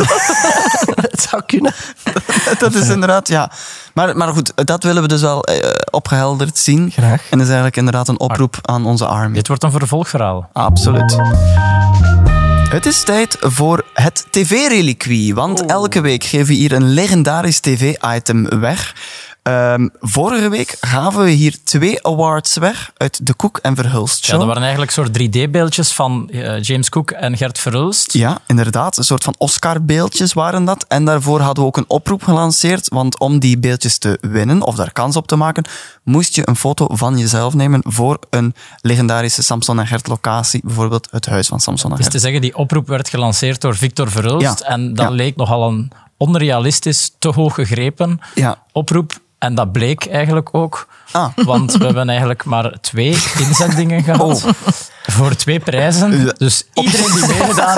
[SPEAKER 4] Het zou kunnen.
[SPEAKER 2] Dat is inderdaad, ja. Maar, maar goed, dat willen we dus wel eh, opgehelderd zien.
[SPEAKER 4] Graag.
[SPEAKER 2] En dat is eigenlijk inderdaad een oproep aan onze army.
[SPEAKER 3] Dit wordt een vervolgverhaal.
[SPEAKER 2] Absoluut. Het is tijd voor het tv-reliquie.
[SPEAKER 3] Oh.
[SPEAKER 2] Want elke week geven we hier een legendarisch tv-item weg. Ehm, vorige week gaven we hier twee awards weg uit de Koek en Verhulst
[SPEAKER 3] Ja,
[SPEAKER 2] Show.
[SPEAKER 3] dat waren eigenlijk soort 3D-beeldjes van eh, James Cook en Gert Verhulst.
[SPEAKER 2] Ja, inderdaad. Een soort van Oscar-beeldjes waren dat. En daarvoor hadden we ook een oproep gelanceerd. Want om die beeldjes te winnen, of daar kans op te maken, moest je een foto van jezelf nemen voor een legendarische Samson en Gert locatie. Bijvoorbeeld het huis van Samson en
[SPEAKER 3] Dus
[SPEAKER 2] Gert.
[SPEAKER 3] te zeggen, die oproep werd gelanceerd door Victor Verhulst
[SPEAKER 2] Ja.
[SPEAKER 3] en dat
[SPEAKER 2] Ja.
[SPEAKER 3] leek nogal een onrealistisch, te hoog gegrepen
[SPEAKER 2] Ja.
[SPEAKER 3] oproep. En dat bleek eigenlijk ook,
[SPEAKER 2] Ah.
[SPEAKER 3] want we hebben eigenlijk maar twee inzendingen gehad
[SPEAKER 2] Oh.
[SPEAKER 3] voor twee prijzen. Dus iedereen die meegedaan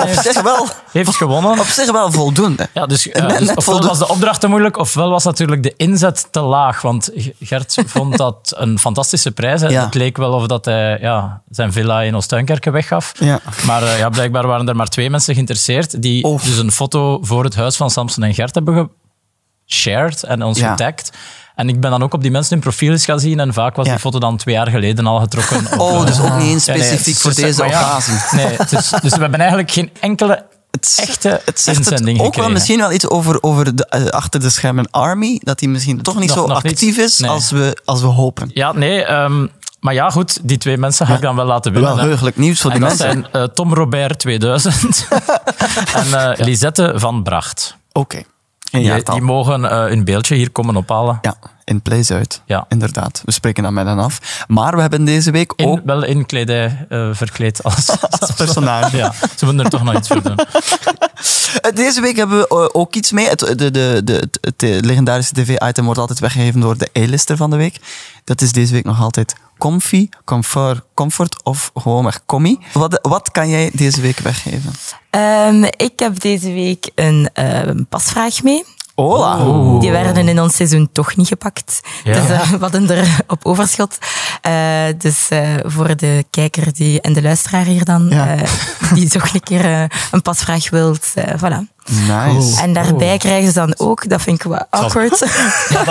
[SPEAKER 2] Op
[SPEAKER 3] heeft,
[SPEAKER 2] zich wel,
[SPEAKER 3] heeft gewonnen.
[SPEAKER 2] op zich wel voldoende.
[SPEAKER 3] Ja, dus, eh,
[SPEAKER 2] Net-
[SPEAKER 3] dus
[SPEAKER 2] net
[SPEAKER 3] ofwel
[SPEAKER 2] voldoen-
[SPEAKER 3] was de opdracht te moeilijk, ofwel was natuurlijk de inzet te laag. Want G- Gert vond dat een fantastische prijs. En
[SPEAKER 2] Ja.
[SPEAKER 3] Het leek wel of dat hij ja, zijn villa in Oostuinkerken weggaf.
[SPEAKER 2] Ja.
[SPEAKER 3] Maar eh, ja, blijkbaar waren er maar twee mensen geïnteresseerd die
[SPEAKER 2] Of.
[SPEAKER 3] dus een foto voor het huis van Samson en Gert hebben geshared en ons
[SPEAKER 2] Ja.
[SPEAKER 3] getagd. En ik ben dan ook op die mensen hun profiel eens gaan zien en vaak was
[SPEAKER 2] Ja.
[SPEAKER 3] die foto dan twee jaar geleden al getrokken. op,
[SPEAKER 2] Oh,
[SPEAKER 3] eh,
[SPEAKER 2] dus ook niet eens
[SPEAKER 3] ja, nee,
[SPEAKER 2] specifiek
[SPEAKER 3] dus-
[SPEAKER 2] voor
[SPEAKER 3] dus-
[SPEAKER 2] deze
[SPEAKER 3] maar ja,
[SPEAKER 2] occasie.
[SPEAKER 3] Nee, het is- dus we hebben eigenlijk geen enkele
[SPEAKER 2] Het,
[SPEAKER 3] echte
[SPEAKER 2] het zegt het ook
[SPEAKER 3] inzending
[SPEAKER 2] wel
[SPEAKER 3] gekregen.
[SPEAKER 2] misschien wel iets over, over de, eh, achter de schermen Army. Dat die misschien toch niet
[SPEAKER 3] Nog-
[SPEAKER 2] zo
[SPEAKER 3] nog niet.
[SPEAKER 2] actief is
[SPEAKER 3] Nee.
[SPEAKER 2] als, we, als we hopen.
[SPEAKER 3] Ja, nee. ehm, Maar ja, goed, die twee mensen ga ik dan wel laten winnen.
[SPEAKER 2] Wel
[SPEAKER 3] hè.
[SPEAKER 2] heugelijk nieuws voor die
[SPEAKER 3] En dat
[SPEAKER 2] mensen.
[SPEAKER 3] zijn eh, Tom Robert 2000 en eh, Lisette van Bracht.
[SPEAKER 2] Oké. Een
[SPEAKER 3] Die,
[SPEAKER 2] jaartal.
[SPEAKER 3] die mogen eh, hun beeldje hier komen ophalen.
[SPEAKER 2] Ja, in Play Zuid.
[SPEAKER 3] Ja.
[SPEAKER 2] Inderdaad. We spreken dat met hen af. Maar we hebben deze week
[SPEAKER 3] In,
[SPEAKER 2] ook
[SPEAKER 3] Wel in kledij eh, verkleed als, als
[SPEAKER 2] personage.
[SPEAKER 3] Ja, ze moeten er toch nog iets voor doen.
[SPEAKER 2] Eh, Deze week hebben we eh, ook iets mee. Het, de, de, de, het, het, eh, legendarische tv-item wordt altijd weggegeven door de A-lister van de week. Dat is deze week nog altijd comfy, comfort, comfort of gewoon maar commie. Wat, wat kan jij deze week weggeven?
[SPEAKER 5] Ehm, ik heb deze week een ehm, pasvraag mee.
[SPEAKER 2] Hola!
[SPEAKER 5] Die werden in ons seizoen toch niet gepakt.
[SPEAKER 3] Ja.
[SPEAKER 5] Dus eh, we hadden er op overschot. Eh, dus eh, voor de kijker die, en de luisteraar hier dan,
[SPEAKER 2] Ja.
[SPEAKER 5] eh, die toch een keer eh, een pasvraag wilt, eh, voilà.
[SPEAKER 2] Nice.
[SPEAKER 5] En daarbij krijgen ze dan ook, dat vind ik wel awkward.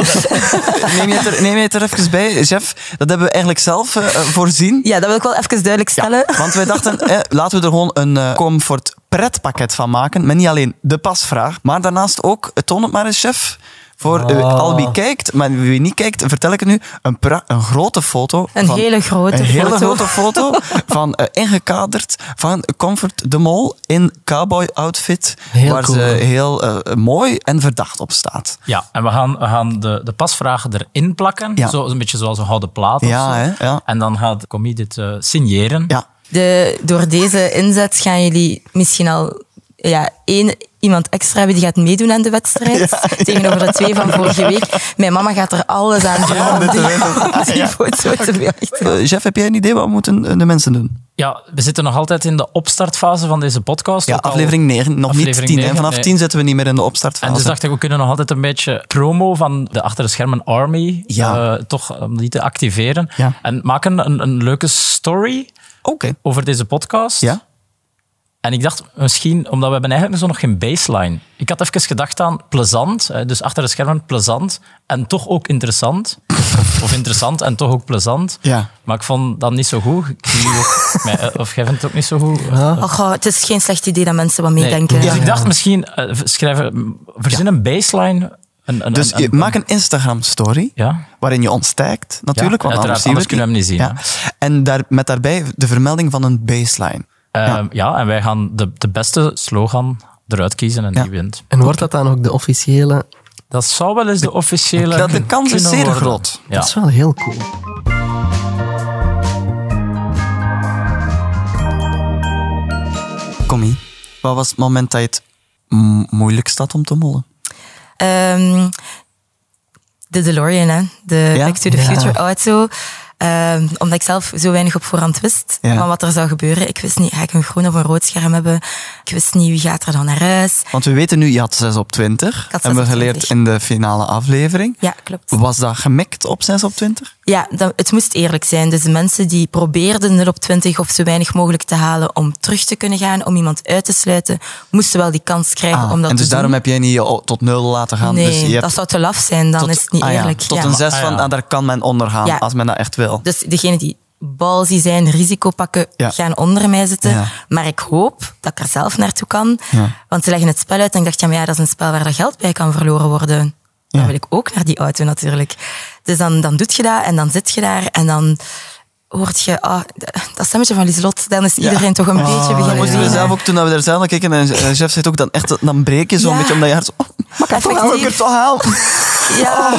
[SPEAKER 2] Neem je, het er, neem je het er even bij, Jeff? Dat hebben we eigenlijk zelf eh, eh, voorzien.
[SPEAKER 5] ja, dat wil ik wel even duidelijk stellen.
[SPEAKER 2] Want wij dachten, eh, laten we er gewoon een eh, comfort pretpakket van maken. Met niet alleen de pasvraag, maar daarnaast ook, eh, toon het maar eens, chef. Voor eh,
[SPEAKER 3] Ah.
[SPEAKER 2] al wie kijkt, maar wie niet kijkt, vertel ik het nu, een, pra- een grote foto.
[SPEAKER 5] Een hele grote
[SPEAKER 2] een hele
[SPEAKER 5] foto.
[SPEAKER 2] grote foto van eh, ingekaderd van Comfort de Mol in cowboy outfit.
[SPEAKER 4] Heel
[SPEAKER 2] waar
[SPEAKER 4] cool.
[SPEAKER 2] ze heel eh, mooi en verdacht op staat.
[SPEAKER 3] Ja, en we gaan, we gaan de, de pasvragen erin plakken.
[SPEAKER 2] Ja.
[SPEAKER 3] Zo, een beetje zoals een houden plaat of
[SPEAKER 2] Ja,
[SPEAKER 3] zo.
[SPEAKER 2] hè, ja.
[SPEAKER 3] En dan gaat Comi dit eh, signeren.
[SPEAKER 2] Ja,
[SPEAKER 5] De, door deze inzet gaan jullie misschien al ja, één iemand extra hebben die gaat meedoen aan de wedstrijd. Tegenover de twee van vorige week. Mijn mama gaat er alles aan doen om die, om die foto te belichten.
[SPEAKER 2] Eh, Jeff, heb jij een idee wat moeten eh, de mensen doen?
[SPEAKER 3] Ja, we zitten nog altijd in de opstartfase van deze podcast.
[SPEAKER 2] Ja,
[SPEAKER 3] Ook al-
[SPEAKER 2] aflevering 9, nog
[SPEAKER 3] aflevering
[SPEAKER 2] niet 10. hè.
[SPEAKER 3] negen,
[SPEAKER 2] Vanaf
[SPEAKER 3] nee.
[SPEAKER 2] 10 zitten we niet meer in de opstartfase.
[SPEAKER 3] En dus dacht ik, we kunnen nog altijd een beetje promo van de achter de schermen Army,
[SPEAKER 2] Ja.
[SPEAKER 3] eh, toch om die te activeren.
[SPEAKER 2] Ja.
[SPEAKER 3] En maken een, een leuke story
[SPEAKER 2] Oké.
[SPEAKER 3] over deze podcast.
[SPEAKER 2] Ja?
[SPEAKER 3] En ik dacht misschien, omdat we hebben eigenlijk zo nog geen baseline. Ik had even gedacht aan plezant, eh, dus achter de schermen plezant en toch ook interessant. of interessant en toch ook plezant.
[SPEAKER 2] Ja.
[SPEAKER 3] Maar ik vond dat niet zo goed. Ik zie jullie ook- mij- eh, of jij vindt het ook niet zo goed?
[SPEAKER 5] Oh, goh, het is geen slecht idee dat mensen wat meedenken.
[SPEAKER 3] Dus ik dacht misschien, eh, schrijven, verzin een baseline. Een, een,
[SPEAKER 2] Dus
[SPEAKER 3] een-
[SPEAKER 2] je,
[SPEAKER 3] een-
[SPEAKER 2] maak een Instagram-story
[SPEAKER 3] Ja.
[SPEAKER 2] waarin je ons tagt, natuurlijk.
[SPEAKER 3] Ja,
[SPEAKER 2] want anders, zien we
[SPEAKER 3] uiteraard,
[SPEAKER 2] het
[SPEAKER 3] anders kunnen we hem
[SPEAKER 2] En daar, met daarbij de vermelding van een baseline.
[SPEAKER 3] Eh, ja. en wij gaan de, de beste slogan eruit kiezen en
[SPEAKER 2] Ja.
[SPEAKER 3] die wint.
[SPEAKER 4] En wordt dat dan ook de officiële?
[SPEAKER 3] Dat zou wel eens de officiële.
[SPEAKER 2] Dat de kans is
[SPEAKER 3] kunnen
[SPEAKER 2] zeer
[SPEAKER 3] worden.
[SPEAKER 2] groot. Dus-
[SPEAKER 3] Ja.
[SPEAKER 4] Dat is wel heel cool.
[SPEAKER 2] Commie, wat was het moment dat je het m- moeilijkst had om te mollen?
[SPEAKER 5] Ehm, de DeLorean, hè? de
[SPEAKER 2] Ja?
[SPEAKER 5] Back to the
[SPEAKER 4] Ja.
[SPEAKER 5] Future auto. Ehm, omdat ik zelf zo weinig op voorhand wist
[SPEAKER 2] Ja.
[SPEAKER 5] van wat er zou gebeuren. Ik wist niet, ga ik een groen of een rood scherm hebben? Ik wist niet, wie gaat er dan naar huis?
[SPEAKER 2] Want we weten nu, je had 6 op 20.
[SPEAKER 5] had
[SPEAKER 2] hebben we
[SPEAKER 5] 26.
[SPEAKER 2] geleerd in de finale aflevering.
[SPEAKER 5] Ja, klopt.
[SPEAKER 2] Was dat gemikt op 6 op 20?
[SPEAKER 5] Ja, dat, het moest eerlijk zijn. Dus de mensen die probeerden er op 20 of zo weinig mogelijk te halen om terug te kunnen gaan, om iemand uit te sluiten, moesten wel die kans krijgen
[SPEAKER 2] Ah,
[SPEAKER 5] om dat
[SPEAKER 2] en dus
[SPEAKER 5] te
[SPEAKER 2] daarom
[SPEAKER 5] doen.
[SPEAKER 2] heb jij niet oh, tot nul laten gaan.
[SPEAKER 5] nee,
[SPEAKER 2] dus je hebt
[SPEAKER 5] dat zou te laf zijn, dan
[SPEAKER 2] tot-
[SPEAKER 5] is het niet
[SPEAKER 2] ah ja,
[SPEAKER 5] eerlijk.
[SPEAKER 2] tot
[SPEAKER 5] Ja.
[SPEAKER 2] een 6
[SPEAKER 3] Ah
[SPEAKER 2] van,
[SPEAKER 3] ja.
[SPEAKER 2] ah, daar kan men onder gaan,
[SPEAKER 5] Ja.
[SPEAKER 2] als men dat echt wil.
[SPEAKER 5] Dus degenen die balzie zijn, risico pakken,
[SPEAKER 2] Ja.
[SPEAKER 5] gaan onder mij zitten.
[SPEAKER 2] Ja.
[SPEAKER 5] Maar ik hoop dat ik er zelf naartoe kan.
[SPEAKER 2] Ja.
[SPEAKER 5] Want ze leggen het spel uit en ik dacht, ja, maar ja, dat is een spel waar dat geld bij kan verloren worden.
[SPEAKER 2] Ja.
[SPEAKER 5] Dan wil ik ook naar die auto natuurlijk. Dus dan, dan doet je dat en dan zit je daar en dan hoort je ah, d- dat stemmetje van Lieslot. Dan is iedereen toch een beetje
[SPEAKER 2] Dat
[SPEAKER 5] beginnen
[SPEAKER 2] moesten Oh, we
[SPEAKER 5] zingen.
[SPEAKER 2] zelf ook toen we daar zelf naar keken. En eh, chef zegt ook, dan, echt, dan breek je zo'n
[SPEAKER 5] Ja.
[SPEAKER 2] beetje. Omdat je hart zo... Maar kan toch helpen, ik er
[SPEAKER 5] Effectief.
[SPEAKER 2] toch helpen?
[SPEAKER 5] Ja.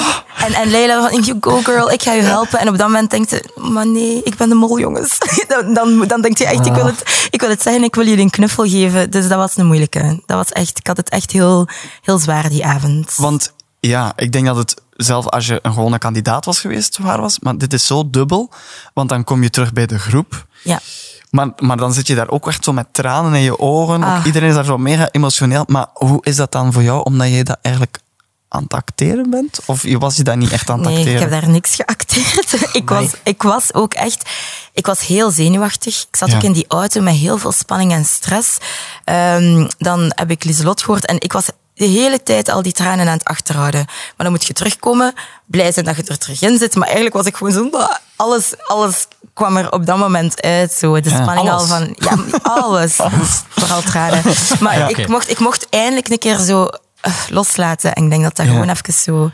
[SPEAKER 5] En, en Leila van, you go girl, ik ga je helpen. En op dat moment denkt ze, maar nee, ik ben de mol, jongens. Dan, dan, dan denkt je echt, ik wil, het, ik wil het zeggen, ik wil jullie een knuffel geven. Dus dat was een moeilijke. Dat was echt, ik had het echt heel, heel zwaar die avond.
[SPEAKER 2] Want ja, ik denk dat het zelf als je een gewone kandidaat was geweest, waar was. Maar dit is zo dubbel, want dan kom je terug bij de groep.
[SPEAKER 5] Ja.
[SPEAKER 2] Maar, maar dan zit je daar ook echt zo met tranen in je ogen. Ook
[SPEAKER 5] Ah.
[SPEAKER 2] Iedereen is daar zo mega emotioneel. Maar hoe is dat dan voor jou, omdat jij dat eigenlijk aan het acteren bent? Of je- was je dat niet echt aan het
[SPEAKER 5] Nee,
[SPEAKER 2] acteren?
[SPEAKER 5] ik heb daar niks geacteerd. ik, was, ik was ook echt... Ik was heel zenuwachtig. Ik zat
[SPEAKER 2] Ja.
[SPEAKER 5] ook in die auto met heel veel spanning en stress. Ehm, dan heb ik Lieselot gehoord en ik was de hele tijd al die tranen aan het achterhouden. Maar dan moet je terugkomen, blij zijn dat je er terug in zit. Maar eigenlijk was ik gewoon zo... bah, Alles, alles kwam er op dat moment uit. Zo. De
[SPEAKER 2] Ja,
[SPEAKER 5] spanning
[SPEAKER 2] alles.
[SPEAKER 5] al van... Ja, alles. Vooral tranen. Maar
[SPEAKER 3] Ja,
[SPEAKER 5] ik,
[SPEAKER 3] oké.
[SPEAKER 5] mocht, ik mocht eindelijk een keer zo eh, loslaten. En ik denk dat dat
[SPEAKER 2] Ja.
[SPEAKER 5] gewoon even zo...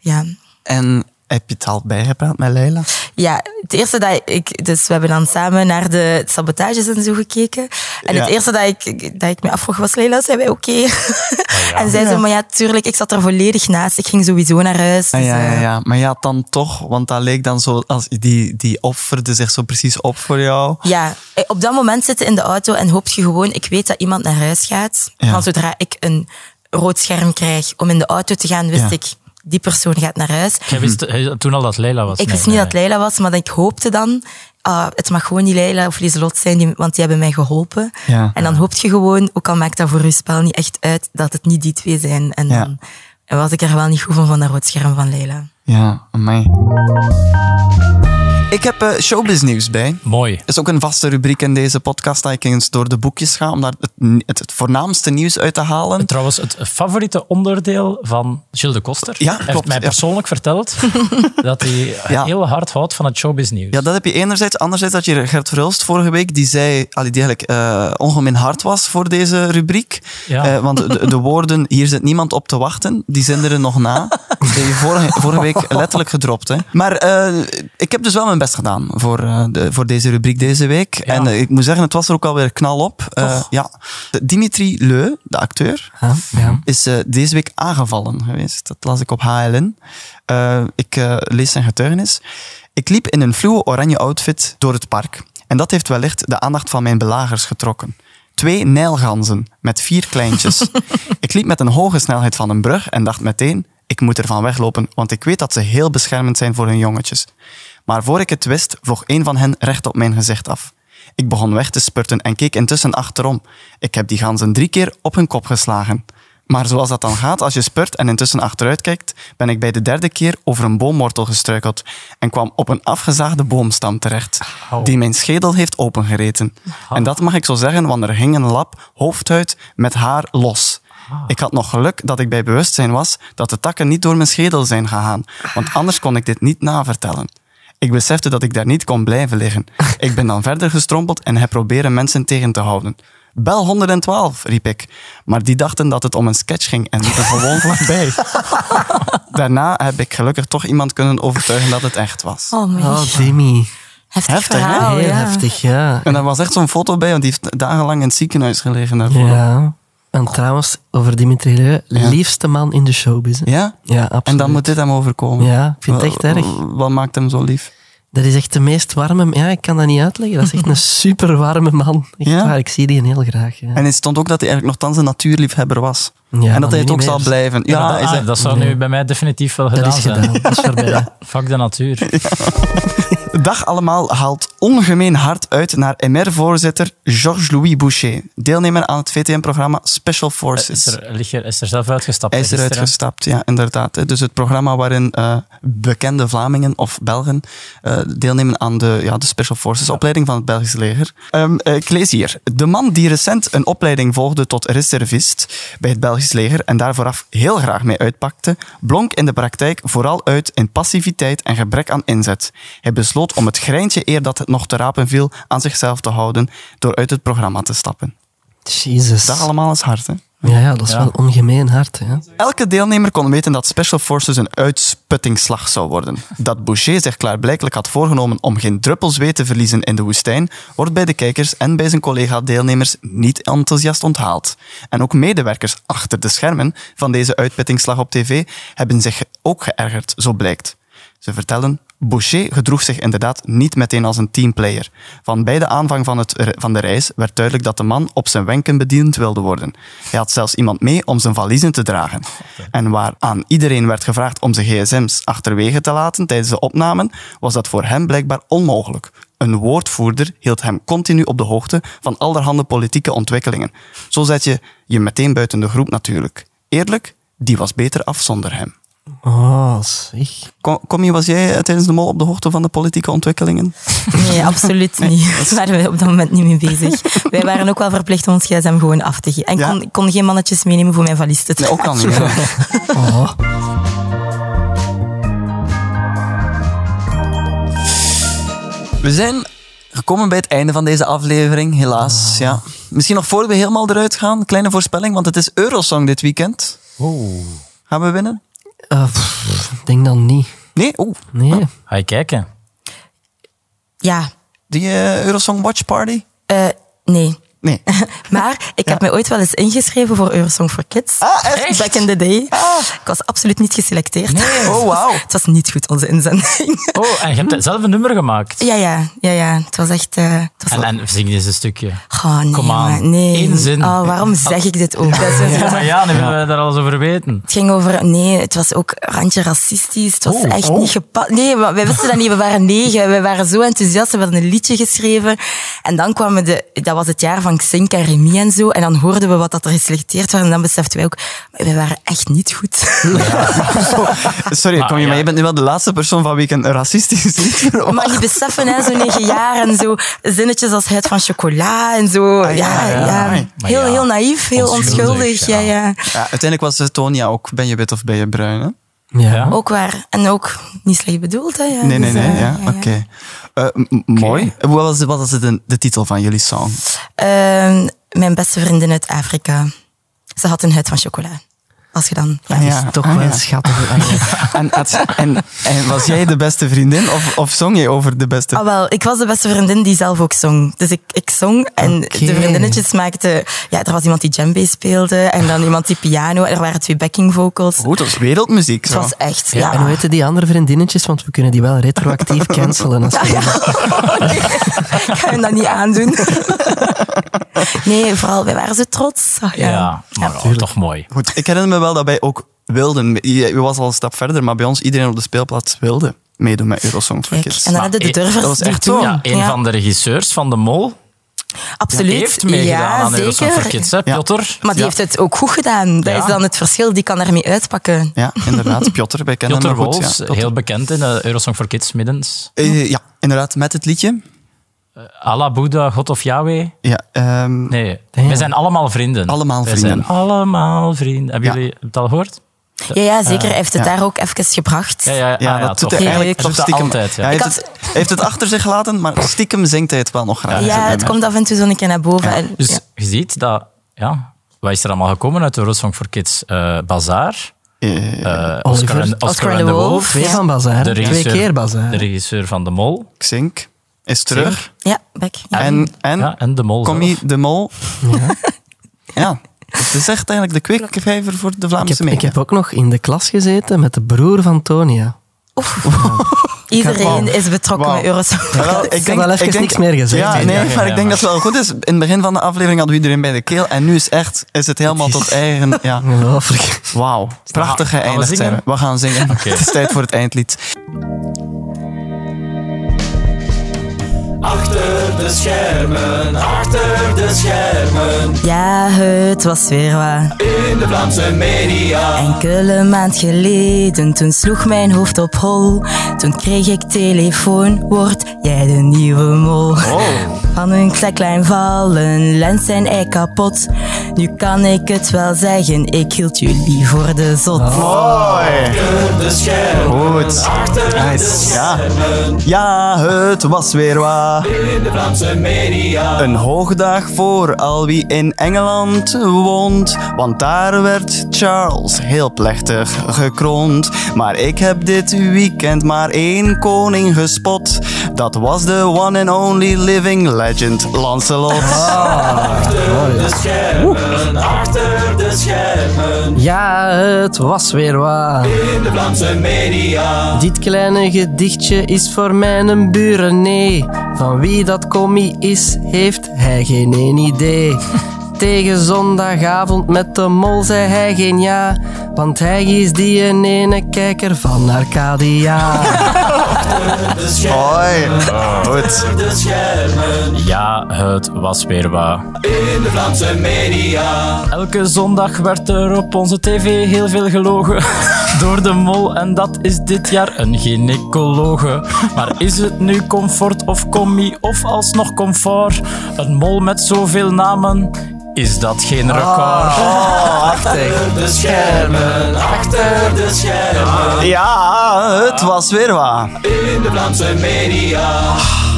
[SPEAKER 5] Ja,
[SPEAKER 2] En Heb je het al bijgepraat met Leila?
[SPEAKER 5] Ja, het eerste dat ik... Dus we hebben dan samen naar de sabotages en zo gekeken. En het
[SPEAKER 2] Ja. Ah,
[SPEAKER 5] eerste dat ik, dat ik me afvroeg was, Leila, zijn wij oké? En zij zei, maar ja, tuurlijk, ik zat er volledig naast. Ik ging sowieso naar huis.
[SPEAKER 2] Ah,
[SPEAKER 5] Dus,
[SPEAKER 2] ja, ja,
[SPEAKER 5] eh,
[SPEAKER 2] ja. Maar ja, dan toch, want dat leek dan zo, als die, die offerde zich zo precies op voor jou.
[SPEAKER 5] Ja, eh, op dat moment zitten in de auto en hoopt je gewoon, ik weet dat iemand naar huis gaat.
[SPEAKER 2] Ja.
[SPEAKER 5] Van zodra ik een rood scherm krijg om in de auto te gaan, wist
[SPEAKER 2] Ja.
[SPEAKER 5] ik, die persoon gaat naar huis.
[SPEAKER 3] Jij wist eh, toen al dat Leila was. eh,
[SPEAKER 5] Ik
[SPEAKER 3] Nee,
[SPEAKER 5] wist niet
[SPEAKER 3] nee,
[SPEAKER 5] dat Leila was, maar ik hoopte dan, ah, het mag gewoon niet Leila of Lieselot zijn, die, want die hebben mij geholpen.
[SPEAKER 2] Ja.
[SPEAKER 5] En dan hoopt je gewoon, ook al maakt dat voor je spel niet echt uit, dat het niet die twee zijn. En
[SPEAKER 2] Ja.
[SPEAKER 5] dan en was ik er wel niet goed van, van dat rood scherm van Leila.
[SPEAKER 2] Ja, amai. Ik heb eh, showbiz nieuws bij.
[SPEAKER 3] Mooi.
[SPEAKER 2] is ook een vaste rubriek in deze podcast dat ik eens door de boekjes ga om daar het, het, het voornaamste nieuws uit te halen.
[SPEAKER 3] Trouwens, het favoriete onderdeel van Gilles de Koster
[SPEAKER 2] Ja,
[SPEAKER 3] heeft
[SPEAKER 2] klopt,
[SPEAKER 3] mij
[SPEAKER 2] ja.
[SPEAKER 3] persoonlijk verteld dat hij
[SPEAKER 2] Ja.
[SPEAKER 3] heel hard houdt van het showbiz nieuws.
[SPEAKER 2] Ja, dat heb je enerzijds. Anderzijds had je Gert Verhulst vorige week, die zei, allee, die eigenlijk eh, ongemeen hard was voor deze rubriek.
[SPEAKER 3] Ja.
[SPEAKER 2] Eh, want de, de woorden, hier zit niemand op te wachten, die zinderen nog na. Die heb je vorige, vorige week letterlijk gedropt. Hè. Maar eh, ik heb dus wel mijn best gedaan voor, eh, de, voor deze rubriek deze week. En eh, ik moet zeggen, het was er ook alweer knal op. Eh, ja. Dimitri Leu, de acteur,
[SPEAKER 4] Ja, ja.
[SPEAKER 2] is eh, deze week aangevallen geweest. Dat las ik op HLN. Eh, ik eh, lees zijn getuigenis. Ik liep in een fluo oranje outfit door het park. En dat heeft wellicht de aandacht van mijn belagers getrokken. Twee nijlganzen met vier kleintjes. ik liep met een hoge snelheid van een brug en dacht meteen... Ik moet ervan weglopen, want ik weet dat ze heel beschermend zijn voor hun jongetjes. Maar voor ik het wist, vloog een van hen recht op mijn gezicht af. Ik begon weg te spurten en keek intussen achterom. Ik heb die ganzen drie keer op hun kop geslagen. Maar zoals dat dan gaat, als je spurt en intussen achteruit kijkt, ben ik bij de derde keer over een boomwortel gestruikeld en kwam op een afgezaagde boomstam terecht, die mijn schedel heeft opengereten. En dat mag ik zo zeggen, want er hing een lap hoofdhuid met haar los. Ik had nog geluk dat ik bij bewustzijn was dat de takken niet door mijn schedel zijn gegaan, want anders kon ik dit niet navertellen. Ik besefte dat ik daar niet kon blijven liggen. Ik ben dan verder gestrompeld en heb proberen mensen tegen te houden. Bel 112, riep ik. Maar die dachten dat het om een sketch ging en liepen gewoon voorbij. Daarna heb ik gelukkig toch iemand kunnen overtuigen dat het echt was.
[SPEAKER 5] Oh, mijn
[SPEAKER 4] Oh, Jimmy.
[SPEAKER 5] heftig,
[SPEAKER 2] heftig, hè?
[SPEAKER 5] verhaal.
[SPEAKER 4] Heel
[SPEAKER 5] ja.
[SPEAKER 4] heftig, Oh, ja.
[SPEAKER 2] En daar was echt zo'n foto bij, want die heeft dagenlang in het ziekenhuis gelegen daarvoor. Ja?
[SPEAKER 4] Ja. En trouwens, over Dimitri Leu, liefste man in de showbiz. hè. Ja, absoluut.
[SPEAKER 2] En dan moet dit hem overkomen.
[SPEAKER 4] Ja, ik vind het echt
[SPEAKER 2] Wat-
[SPEAKER 4] erg.
[SPEAKER 2] Wat maakt hem zo lief?
[SPEAKER 4] Dat is echt de meest warme... Ja, ik kan dat niet uitleggen. Dat is echt een super warme man. Echt
[SPEAKER 2] Ja?
[SPEAKER 4] waar, ik zie die heel graag. Ja.
[SPEAKER 2] En het stond ook dat hij eigenlijk nogthans een natuurliefhebber was.
[SPEAKER 4] Ja,
[SPEAKER 2] en
[SPEAKER 4] maar
[SPEAKER 2] dat hij
[SPEAKER 4] nu
[SPEAKER 2] het ook
[SPEAKER 4] niet
[SPEAKER 2] zal
[SPEAKER 4] meer.
[SPEAKER 2] blijven. Ja,
[SPEAKER 3] Maar dat,
[SPEAKER 2] hij
[SPEAKER 3] ah,
[SPEAKER 2] zei-
[SPEAKER 3] dat zou nu bij mij definitief wel gedaan
[SPEAKER 4] Dat is
[SPEAKER 3] zijn.
[SPEAKER 4] gedaan. Dat is voorbij.
[SPEAKER 3] Fuck de natuur.
[SPEAKER 2] Dag allemaal haalt ongemeen hard uit naar MR-voorzitter Georges-Louis Boucher, deelnemer aan het VTM-programma Special
[SPEAKER 3] Eh, Is
[SPEAKER 2] Forces.
[SPEAKER 3] er, lig er- is er zelf uitgestapt.
[SPEAKER 2] Hij is eruit
[SPEAKER 3] gisteren.
[SPEAKER 2] gestapt, ja, inderdaad. hè. Dus het programma waarin eh, bekende Vlamingen of Belgen eh, deelnemen aan de, ja, de Special Forces opleiding van het Belgisch leger. Ehm, eh, ik lees hier. De man die recent een opleiding volgde tot reservist bij het Belgisch leger en daar vooraf heel graag mee uitpakte, blonk in de praktijk vooral uit in passiviteit en gebrek aan inzet. Hij besloot om het greintje eer dat het nog te rapen viel aan zichzelf te houden door uit het programma te stappen.
[SPEAKER 4] Jezus.
[SPEAKER 2] Dat allemaal is hard, hè?
[SPEAKER 4] Ja, ja, dat is
[SPEAKER 3] Ja.
[SPEAKER 4] wel ongemeen hard. Hè.
[SPEAKER 2] Elke deelnemer kon weten dat Special Forces een uitsputtingsslag zou worden. Dat Boucher zich klaarblijkelijk had voorgenomen om geen druppel zweet te verliezen in de woestijn, wordt bij de kijkers en bij zijn collega-deelnemers niet enthousiast onthaald. En ook medewerkers achter de schermen van deze uitputtingsslag op tv hebben zich ook geërgerd, zo blijkt. Ze vertellen, Boucher gedroeg zich inderdaad niet meteen als een teamplayer. Van bij de aanvang van, het, van de reis werd duidelijk dat de man op zijn wenken bediend wilde worden. Hij had zelfs iemand mee om zijn valiezen te dragen. En waar aan iedereen werd gevraagd om zijn gsm's achterwege te laten tijdens de opnamen, was dat voor hem blijkbaar onmogelijk. Een woordvoerder hield hem continu op de hoogte van allerhande politieke ontwikkelingen. Zo zet je je meteen buiten de groep natuurlijk. Eerlijk, die was beter af zonder hem.
[SPEAKER 4] Oh, zeg.
[SPEAKER 2] Kom, kom je, was jij eh, tijdens de mol op de hoogte van de politieke ontwikkelingen?
[SPEAKER 5] Nee, absoluut niet. Daar waren we op dat moment niet mee bezig. Wij waren ook wel verplicht om ons gsm gewoon af te geven. En ik
[SPEAKER 2] Ja.
[SPEAKER 5] kon, ik kon geen mannetjes meenemen voor mijn valies te
[SPEAKER 2] Nee, ook al niet. hè.
[SPEAKER 4] Oh.
[SPEAKER 2] We zijn gekomen bij het einde van deze aflevering, helaas. Ja. Misschien nog voor we helemaal eruit gaan, kleine voorspelling, want het is Eurosong dit weekend. Gaan we winnen?
[SPEAKER 4] Eh, pff, ik denk dan niet.
[SPEAKER 2] Nee, oeh.
[SPEAKER 4] Nee.
[SPEAKER 3] Ga je kijken?
[SPEAKER 5] Ja,
[SPEAKER 2] Die eh, Eurosong Watch Party?
[SPEAKER 5] eh, nee.
[SPEAKER 2] Nee.
[SPEAKER 5] Maar ik heb mij ooit wel eens ingeschreven voor Eurosong for Kids.
[SPEAKER 2] Ah, echt?
[SPEAKER 5] Back in the day.
[SPEAKER 3] Ah.
[SPEAKER 5] Ik was absoluut niet geselecteerd.
[SPEAKER 2] Oh, wauw.
[SPEAKER 5] Het was niet goed, onze inzending.
[SPEAKER 3] Oh, en je
[SPEAKER 2] Hmm.
[SPEAKER 3] hebt zelf een nummer gemaakt.
[SPEAKER 5] Ja, ja, ja, ja. Het was echt... eh, het was
[SPEAKER 3] En, en zing eens een stukje.
[SPEAKER 5] Oh, nee,
[SPEAKER 3] Kom aan.
[SPEAKER 5] jongen, nee.
[SPEAKER 3] Eén zin.
[SPEAKER 5] Oh, waarom zeg ik dit ook? Dat is-
[SPEAKER 3] Ja, maar ja, nu hebben we daar alles over weten.
[SPEAKER 5] Het ging over, nee, het was ook een randje racistisch. Het was echt niet gepast. Nee, maar wij wisten dat niet. We waren negen. We waren zo enthousiast. We hadden een liedje geschreven. En dan kwamen de, dat was het jaar van Xink en Remy en zo. En dan hoorden we wat dat er geselecteerd werd. En dan beseften wij ook, we waren echt niet goed.
[SPEAKER 2] Sorry, kom je,
[SPEAKER 3] ja.
[SPEAKER 2] maar je bent nu wel de laatste persoon van wie ik een racistisch lied verwacht.
[SPEAKER 5] Maar die beseffen, hè, zo negen jaar en zo zinnetjes als het van chocola en zo. ja, ja,
[SPEAKER 3] Maar
[SPEAKER 5] Heel,
[SPEAKER 3] ja,
[SPEAKER 5] heel naïef, heel
[SPEAKER 3] onschuldig,
[SPEAKER 5] onschuldig. ja.
[SPEAKER 3] ja.
[SPEAKER 5] ja.
[SPEAKER 2] Ja, uiteindelijk was eh, Tonia ook Ben je wit of ben je bruin? Hè?
[SPEAKER 5] Eh,
[SPEAKER 4] Ja.
[SPEAKER 5] Ook waar. En ook niet slecht bedoeld, hè? Ja.
[SPEAKER 2] Nee, nee,
[SPEAKER 5] Dus,
[SPEAKER 2] nee.
[SPEAKER 5] eh,
[SPEAKER 2] Ja, oké. Eh, m- m- Mooi. Wat was, wat was het een- de titel van jullie song?
[SPEAKER 5] Ehm, mijn beste vriendin uit Afrika. Ze had een huid van chocola. Als je dan... Ja.
[SPEAKER 2] Ah,
[SPEAKER 4] Dat is toch
[SPEAKER 2] Ah,
[SPEAKER 4] wel
[SPEAKER 2] ja.
[SPEAKER 4] schattig. Ah, ja.
[SPEAKER 2] En, had- en, en was jij de beste vriendin of, of zong je over de beste
[SPEAKER 5] Ah, wel, ik was de beste vriendin die zelf ook zong. Dus ik, ik zong en de vriendinnetjes maakten... Ja, er was iemand die djembe speelde en dan iemand die piano. Er waren twee backing vocals.
[SPEAKER 2] Goed, dat is wereldmuziek.
[SPEAKER 5] Het
[SPEAKER 2] Zo.
[SPEAKER 5] was echt... Ja.
[SPEAKER 4] En hoe heten die andere vriendinnetjes? Want we kunnen die wel retroactief cancelen. Als we-
[SPEAKER 5] Ik ga hem dat niet aandoen. nee, vooral, wij waren zo trots. Ja.
[SPEAKER 3] Ja, maar oh, toch mooi.
[SPEAKER 2] Goed, ik herinner me wel dat wij ook wilden. Je je was al een stap verder, maar bij ons iedereen op de speelplaats wilde meedoen met Eurosong for
[SPEAKER 5] Kijk,
[SPEAKER 2] Kids.
[SPEAKER 5] en dan hadden de
[SPEAKER 3] Maar, eh,
[SPEAKER 5] durvers
[SPEAKER 2] dat was
[SPEAKER 5] die
[SPEAKER 2] echt
[SPEAKER 5] toen-
[SPEAKER 2] zo.
[SPEAKER 3] Ja, een
[SPEAKER 5] Ja.
[SPEAKER 3] van de regisseurs van De Mol
[SPEAKER 5] Absoluut.
[SPEAKER 3] heeft meegedaan aan Eurosong for Kids, hè,
[SPEAKER 2] Ja.
[SPEAKER 3] Piotr?
[SPEAKER 5] Maar die heeft het ook goed gedaan. Dat
[SPEAKER 3] Ja.
[SPEAKER 5] is dan het verschil. Die kan daarmee uitpakken.
[SPEAKER 2] Ja, inderdaad. Piotr, wij kennen
[SPEAKER 3] Piotr
[SPEAKER 2] hem nog goed.
[SPEAKER 3] Wolfs,
[SPEAKER 2] ja. Piotr.
[SPEAKER 3] heel bekend in eh, Eurosong for Kids middens.
[SPEAKER 2] Eh, ja, inderdaad, met het liedje.
[SPEAKER 3] Allah, Boeddha, God of Yahweh.
[SPEAKER 2] Ja, ehm,
[SPEAKER 3] Nee, wij zijn allemaal vrienden.
[SPEAKER 2] Allemaal
[SPEAKER 3] Wij
[SPEAKER 2] vrienden.
[SPEAKER 3] zijn allemaal vrienden. Hebben
[SPEAKER 2] Ja.
[SPEAKER 3] jullie het al gehoord?
[SPEAKER 5] Ja, ja zeker. Hij heeft het
[SPEAKER 2] ja.
[SPEAKER 5] daar ook even gebracht.
[SPEAKER 3] Ja, ja, Ah, ja,
[SPEAKER 2] ja, dat
[SPEAKER 3] toch.
[SPEAKER 2] doet hij eigenlijk
[SPEAKER 5] Hij
[SPEAKER 2] toch
[SPEAKER 3] doet dat
[SPEAKER 2] stiekem.
[SPEAKER 3] altijd, ja.
[SPEAKER 2] hij
[SPEAKER 5] Ik
[SPEAKER 2] heeft, het, hij heeft het achter zich gelaten, maar stiekem zingt hij het wel nog graag.
[SPEAKER 5] Ja, het komt af en toe zo'n keer naar boven. En,
[SPEAKER 3] Dus
[SPEAKER 5] ja.
[SPEAKER 3] je ziet dat, ja, wat is er allemaal gekomen uit de Eurosong for Kids eh, Bazaar?
[SPEAKER 2] Eh,
[SPEAKER 3] eh, Oscar, en, Oscar,
[SPEAKER 5] Oscar
[SPEAKER 3] en
[SPEAKER 5] de
[SPEAKER 3] de
[SPEAKER 5] Wolf.
[SPEAKER 3] Wolf.
[SPEAKER 4] Twee
[SPEAKER 5] Ja.
[SPEAKER 4] van Bazaar.
[SPEAKER 3] De
[SPEAKER 4] Twee
[SPEAKER 3] regisseur-
[SPEAKER 4] keer
[SPEAKER 3] De
[SPEAKER 4] Bazaar.
[SPEAKER 3] regisseur van De Mol.
[SPEAKER 2] Xink is terug.
[SPEAKER 5] ja, Beck. Ja.
[SPEAKER 2] En, en,
[SPEAKER 3] Ja, en De Mol
[SPEAKER 2] Commie
[SPEAKER 3] zelf.
[SPEAKER 2] de Mol. Ja. Het is echt eigenlijk de kweekvijver voor de
[SPEAKER 4] Ik
[SPEAKER 2] Vlaamse
[SPEAKER 4] heb, ik
[SPEAKER 2] media.
[SPEAKER 4] heb ook nog in de klas gezeten met de broer van Tonia.
[SPEAKER 5] Iedereen
[SPEAKER 2] Wauw.
[SPEAKER 5] is betrokken
[SPEAKER 2] Wauw.
[SPEAKER 5] met Eurosong.
[SPEAKER 2] Ja, wel,
[SPEAKER 4] had al even niks meer gezegd.
[SPEAKER 2] Ja,
[SPEAKER 4] Ja,
[SPEAKER 2] nee,
[SPEAKER 3] ja,
[SPEAKER 2] maar
[SPEAKER 3] ja,
[SPEAKER 2] ik denk dat het wel goed is. In het begin van de aflevering hadden we iedereen bij de keel. En nu is, echt, is het helemaal tot eigen... Ja.
[SPEAKER 4] Ongelooflijk.
[SPEAKER 2] Wauw. Prachtig
[SPEAKER 3] Gaan we
[SPEAKER 2] geëindigd zijn we.
[SPEAKER 3] zingen?
[SPEAKER 2] We gaan zingen. Het is tijd voor het eindlied.
[SPEAKER 6] Achter de schermen, achter de schermen,
[SPEAKER 5] Ja, het was weer wat.
[SPEAKER 6] in de Vlaamse media.
[SPEAKER 5] Enkele maand geleden, toen sloeg mijn hoofd op hol. Toen kreeg ik telefoon, word jij de nieuwe mol. Van een klein vallen, lens en ei kapot. Nu kan ik het wel zeggen, ik hield jullie voor de zot.
[SPEAKER 2] Mooi. Goed. Nice. Ja. ja, het was weer waar. Een hoogdag voor al wie in Engeland woont. Want daar werd Charles heel plechtig gekroond. Maar ik heb dit weekend maar één koning gespot. Dat was de one and only living legend Lancelot.
[SPEAKER 4] Ja, het was weer waar. Dit kleine gedichtje is voor mijn buren, nee. Van wie dat commie is, heeft hij geen één idee. Tegen zondagavond met de mol zei hij geen ja, want hij is die een ene kijker van Arcadia.
[SPEAKER 2] Hoi. Goed.
[SPEAKER 3] Ja, het was weer wat. In de Vlaamse media. Elke zondag werd er op onze tv heel veel gelogen. Door de mol en dat is dit jaar een gynaecologe. Maar is het nu comfort of commie of alsnog comfort? Een mol met zoveel namen, is dat geen record?
[SPEAKER 2] Oh, Ja, het was weer waar. In de Vlaamse media.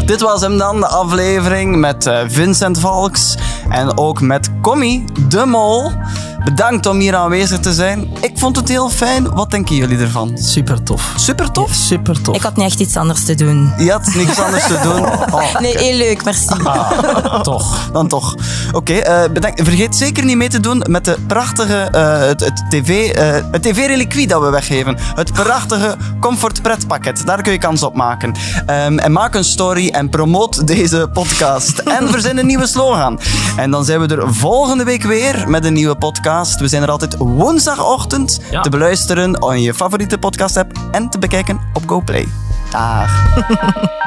[SPEAKER 2] Dit was hem dan, de aflevering met eh, Vincent Valks. En ook met Commie de Mol. Bedankt om hier aanwezig te zijn. Ik vond het heel fijn. Wat denken jullie ervan?
[SPEAKER 4] Super tof.
[SPEAKER 2] Super tof.
[SPEAKER 4] Super tof.
[SPEAKER 5] Ik had niet echt iets anders te doen.
[SPEAKER 2] Je had niks anders te doen. Oh,
[SPEAKER 5] Nee, heel leuk, merci.
[SPEAKER 3] Toch.
[SPEAKER 2] dan toch. Oké, eh, bedankt. Vergeet zeker niet mee te doen met de prachtige eh, het, het tv, eh, het tv-reliquie dat we weggeven. Het prachtige Comfort Pretpakket. Daar kun je kans op maken. Ehm, en maak een story en promoot deze podcast. en verzin een nieuwe slogan. En dan zijn we er volgende week weer met een nieuwe podcast. We zijn er altijd woensdagochtend
[SPEAKER 3] Ja.
[SPEAKER 2] te beluisteren on je favoriete podcast-app en te bekijken op GoPlay. Dag.